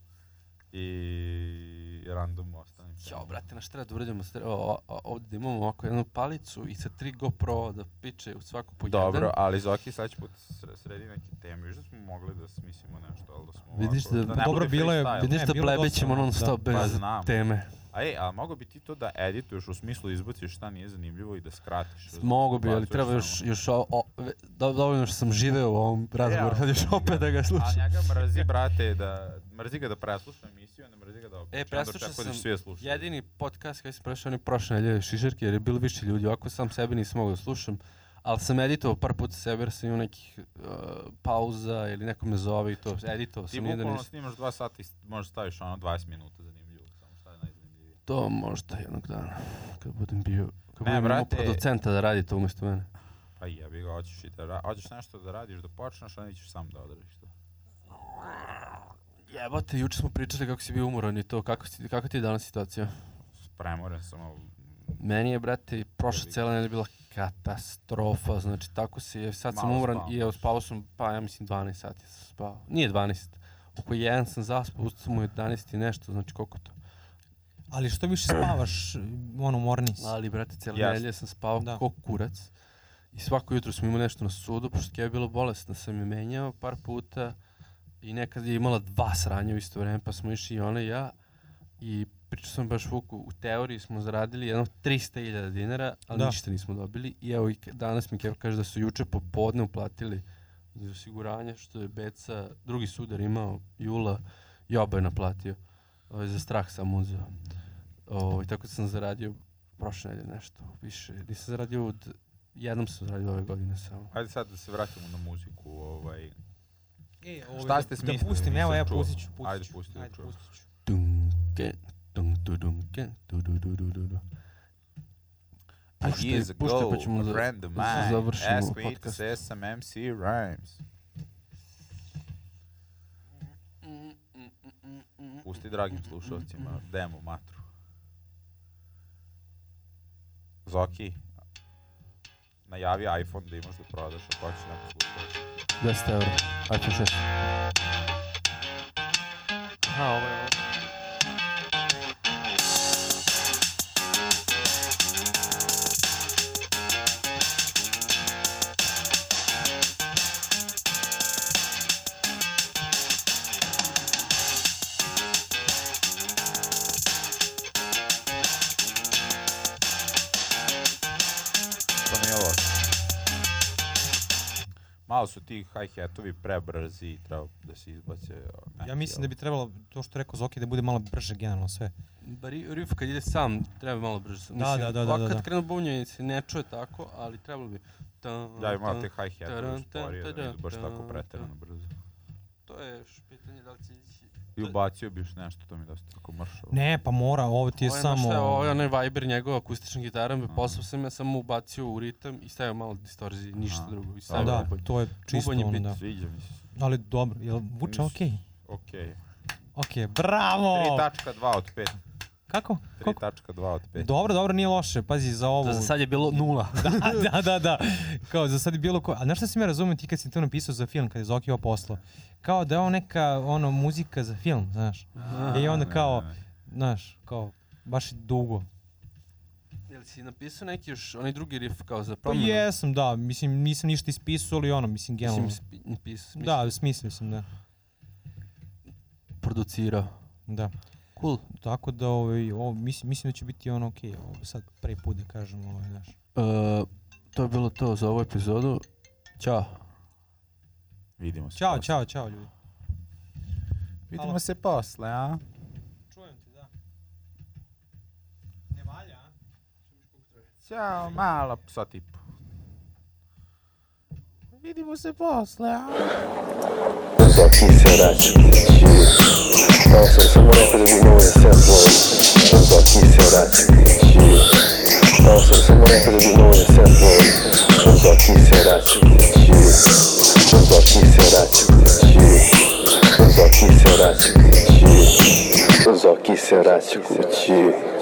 Speaker 2: i random ostalim. temama.
Speaker 4: Ćao, brate, na šta treba da uradimo? Stre- o- o- o- Ovdje da imamo ovako jednu palicu i sa tri GoPro da piče u svaku po jedan.
Speaker 2: Dobro, ali Zoki sledeći put sre- sredi neke teme. Još da smo mogli da smislimo nešto, ali da smo
Speaker 4: Vidiš
Speaker 2: ovako-
Speaker 4: da-
Speaker 2: ne
Speaker 3: Dobro,
Speaker 2: bude
Speaker 3: bilo je-
Speaker 2: freestyle.
Speaker 4: Vidiš
Speaker 3: Ne,
Speaker 4: da
Speaker 3: bilo
Speaker 4: plebećemo
Speaker 3: dosta,
Speaker 4: non stop
Speaker 2: da. Pa
Speaker 4: bez
Speaker 2: znam.
Speaker 4: teme.
Speaker 2: A ej, ali mogo bi ti to da edituješ u smislu izbaciš šta nije zanimljivo i da skratiš.
Speaker 4: Mogu bi, ali
Speaker 2: Ubacuješ
Speaker 4: treba još,
Speaker 2: samo.
Speaker 4: još o, o, ve- do- dovoljno što sam živeo u ovom razgovoru, sad još opet da ga
Speaker 2: A
Speaker 4: slušam.
Speaker 2: njega mrzi, brate, da, mrzi ga da presluša emisiju, a ne mrzi ga da okreće.
Speaker 4: E, preslušao sam
Speaker 2: Svi je slušao.
Speaker 4: jedini podcast koji sam prešao, oni prošle nedelje šišarke, jer je bilo više ljudi, ovako sam sebi nisam mogao da slušam, ali sam editovao par puta sebe jer sam imao nekih uh, pauza ili neko me zove i to, editovao
Speaker 2: Ti
Speaker 4: sam, nije da
Speaker 2: bukvalno
Speaker 4: nisam.
Speaker 2: snimaš dva sata i s- možeš staviš ono 20 minuta zanimljivo. Samo šta je najzanimljivije.
Speaker 4: To možda jednog dana, kad budem bio, kad
Speaker 2: Ne,
Speaker 4: budem imao
Speaker 2: brate.
Speaker 4: producenta da radi to umjesto mene.
Speaker 2: Pa jebi ga, hoćeš, i da ra- hoćeš nešto da radiš, da počneš, a nećeš sam da odradiš to.
Speaker 4: Jebote, juče smo pričali kako si bio umoran i to, kako, si, kako ti je danas situacija?
Speaker 2: Premoren sam, ali...
Speaker 4: Meni je, brate, prošla
Speaker 2: Jebi ga.
Speaker 4: cijela nedelja bila katastrofa, znači tako se, sad sam
Speaker 2: Malo
Speaker 4: umoran
Speaker 2: spavaš.
Speaker 4: i evo spavao sam, pa ja mislim 12 sati sam spavao. Nije 12, oko 1 sam zaspao, ustao sam u 11 i nešto, znači koliko to?
Speaker 3: Ali što više spavaš, ono, morni si.
Speaker 4: Ali, brate, cijela
Speaker 2: Jasno.
Speaker 4: nedelja sam spavao
Speaker 3: Da.
Speaker 4: ko kurac i svako jutro smo imali nešto na sudu, pošto je bilo bolesna, sam je menjao par puta i nekad je imala dva sranja u isto vreme, pa smo išli i ona i ja i pričao sam baš Vuku, u teoriji smo zaradili jedno 300.000 dinara, ali
Speaker 3: Da.
Speaker 4: da. ništa nismo dobili i evo i k- danas mi Kev kaže da su juče popodne uplatili iz osiguranja što je Beca, drugi sudar imao Jula i oboje naplatio ovaj, za strah sam uzeo. Ovaj, tako da sam zaradio prošle nedelje nešto više. Nisam zaradio od, jednom sam zaradio ove godine samo.
Speaker 2: Ajde sad da se vratimo na muziku, ovaj...
Speaker 3: E, ovaj,
Speaker 2: Šta ste
Speaker 3: da, da
Speaker 2: smislili?
Speaker 3: pustim, evo,
Speaker 2: Nisam
Speaker 3: ja
Speaker 2: čuo.
Speaker 3: pustit ću, pustit ću.
Speaker 2: Ajde, pusti da čujem.
Speaker 3: pustit ću.
Speaker 4: Dunke, dun, tu, dunke, tu, du, du, du, du, du. Puštaj,
Speaker 2: Years
Speaker 4: puštaj,
Speaker 2: ago,
Speaker 4: pa ćemo
Speaker 2: a
Speaker 4: za-
Speaker 2: friend of
Speaker 4: da
Speaker 2: mine
Speaker 4: završimo
Speaker 2: asked me to
Speaker 4: podcast.
Speaker 2: say some MC rhymes. Pusti dragim slušalcima demo matru. Zoki, najavi iPhone da imaš da prodaš ako hoćeš neko slušati.
Speaker 4: 10 eura. iPhone 6. Aha, ovo je ovo.
Speaker 2: To nije loše. Malo su ti hi-hatovi prebrzi i treba da se izbace.
Speaker 3: Ja mislim da bi trebalo, to što je rekao Zoki, da bude malo brže generalno sve.
Speaker 4: Ba, ri- riff kad ide sam, treba malo brže. Mislim,
Speaker 3: da, da, da,
Speaker 4: ovako
Speaker 3: da, da.
Speaker 4: Kad krenu bunje se ne čuje tako, ali trebalo bi. Ta,
Speaker 2: Da, ima
Speaker 4: ta.
Speaker 2: te hi-hatovi
Speaker 4: taran,
Speaker 2: sporije, da
Speaker 4: taran,
Speaker 2: ne idu baš tako
Speaker 4: taran,
Speaker 2: preterano
Speaker 4: taran.
Speaker 2: brzo.
Speaker 4: To je još pitanje da li će ići.
Speaker 2: I ubacio bi još nešto, to mi je dosta tako mršavo.
Speaker 3: Ne, pa mora, ovo ti je
Speaker 4: Ovo je
Speaker 3: samo... ono,
Speaker 4: Šta, je, ovo je onaj Viber njegov akustična gitara, me poslao sam ja samo ubacio u ritam i stavio malo distorzije, ništa
Speaker 2: Aha.
Speaker 4: drugo. I
Speaker 3: A,
Speaker 4: stavio
Speaker 3: da,
Speaker 4: bubanj.
Speaker 3: to je čisto
Speaker 4: Bubanj je
Speaker 3: ono,
Speaker 4: bit.
Speaker 3: da.
Speaker 2: Sviđa mi se.
Speaker 3: Ali dobro, jel vuče
Speaker 2: Mis-
Speaker 3: okej?
Speaker 2: Okej.
Speaker 3: Okej, bravo!
Speaker 2: 3.2 od 5.
Speaker 3: Kako? Kako?
Speaker 2: 3.2 od 5.
Speaker 3: Dobro, dobro, nije loše, pazi, za ovu...
Speaker 4: To za sad je bilo nula.
Speaker 3: da, da, da, da. Kao za sad je bilo ko... A znaš šta sam ja razumio ti kad si to napisao za film, kad je Zoki ovo poslao? Kao da je ovo neka, ono, muzika za film, znaš. I onda kao, znaš, kao, baš dugo. Pa
Speaker 4: Jel si napisao neki još, onaj drugi riff kao za
Speaker 3: Pa
Speaker 4: promenu?
Speaker 3: jesam, da, mislim, nisam ništa ispisao, ali ono, mislim, generalno.
Speaker 4: Mislim, spi- napisao, mislim,
Speaker 3: da, smislio sam, da.
Speaker 4: producirao.
Speaker 3: Da.
Speaker 4: Cool.
Speaker 3: Tako da, ovaj, ovo, mislim, mislim da će biti ono okej, ovo sad prvi put da kažem, ovaj, znaš.
Speaker 4: E, to je bilo to za ovu epizodu. Ćao.
Speaker 2: Vidimo se.
Speaker 3: Ćao,
Speaker 2: posle.
Speaker 3: čao, čao ljudi.
Speaker 2: Vidimo se posle, a?
Speaker 3: Čujem te, da. Ne valja, a?
Speaker 2: Ćao, mala psa tipu. Vidimo se posle, a?
Speaker 1: Zoki se vraća. Ovo sam samo rekao da bi imao SF vlog. Zoki se vraća. Ovo sam samo rekao da bi imao SF vlog. Zoki se vraća. Zoki se vraća. Zoki se vraća. Zoki se vraća kući.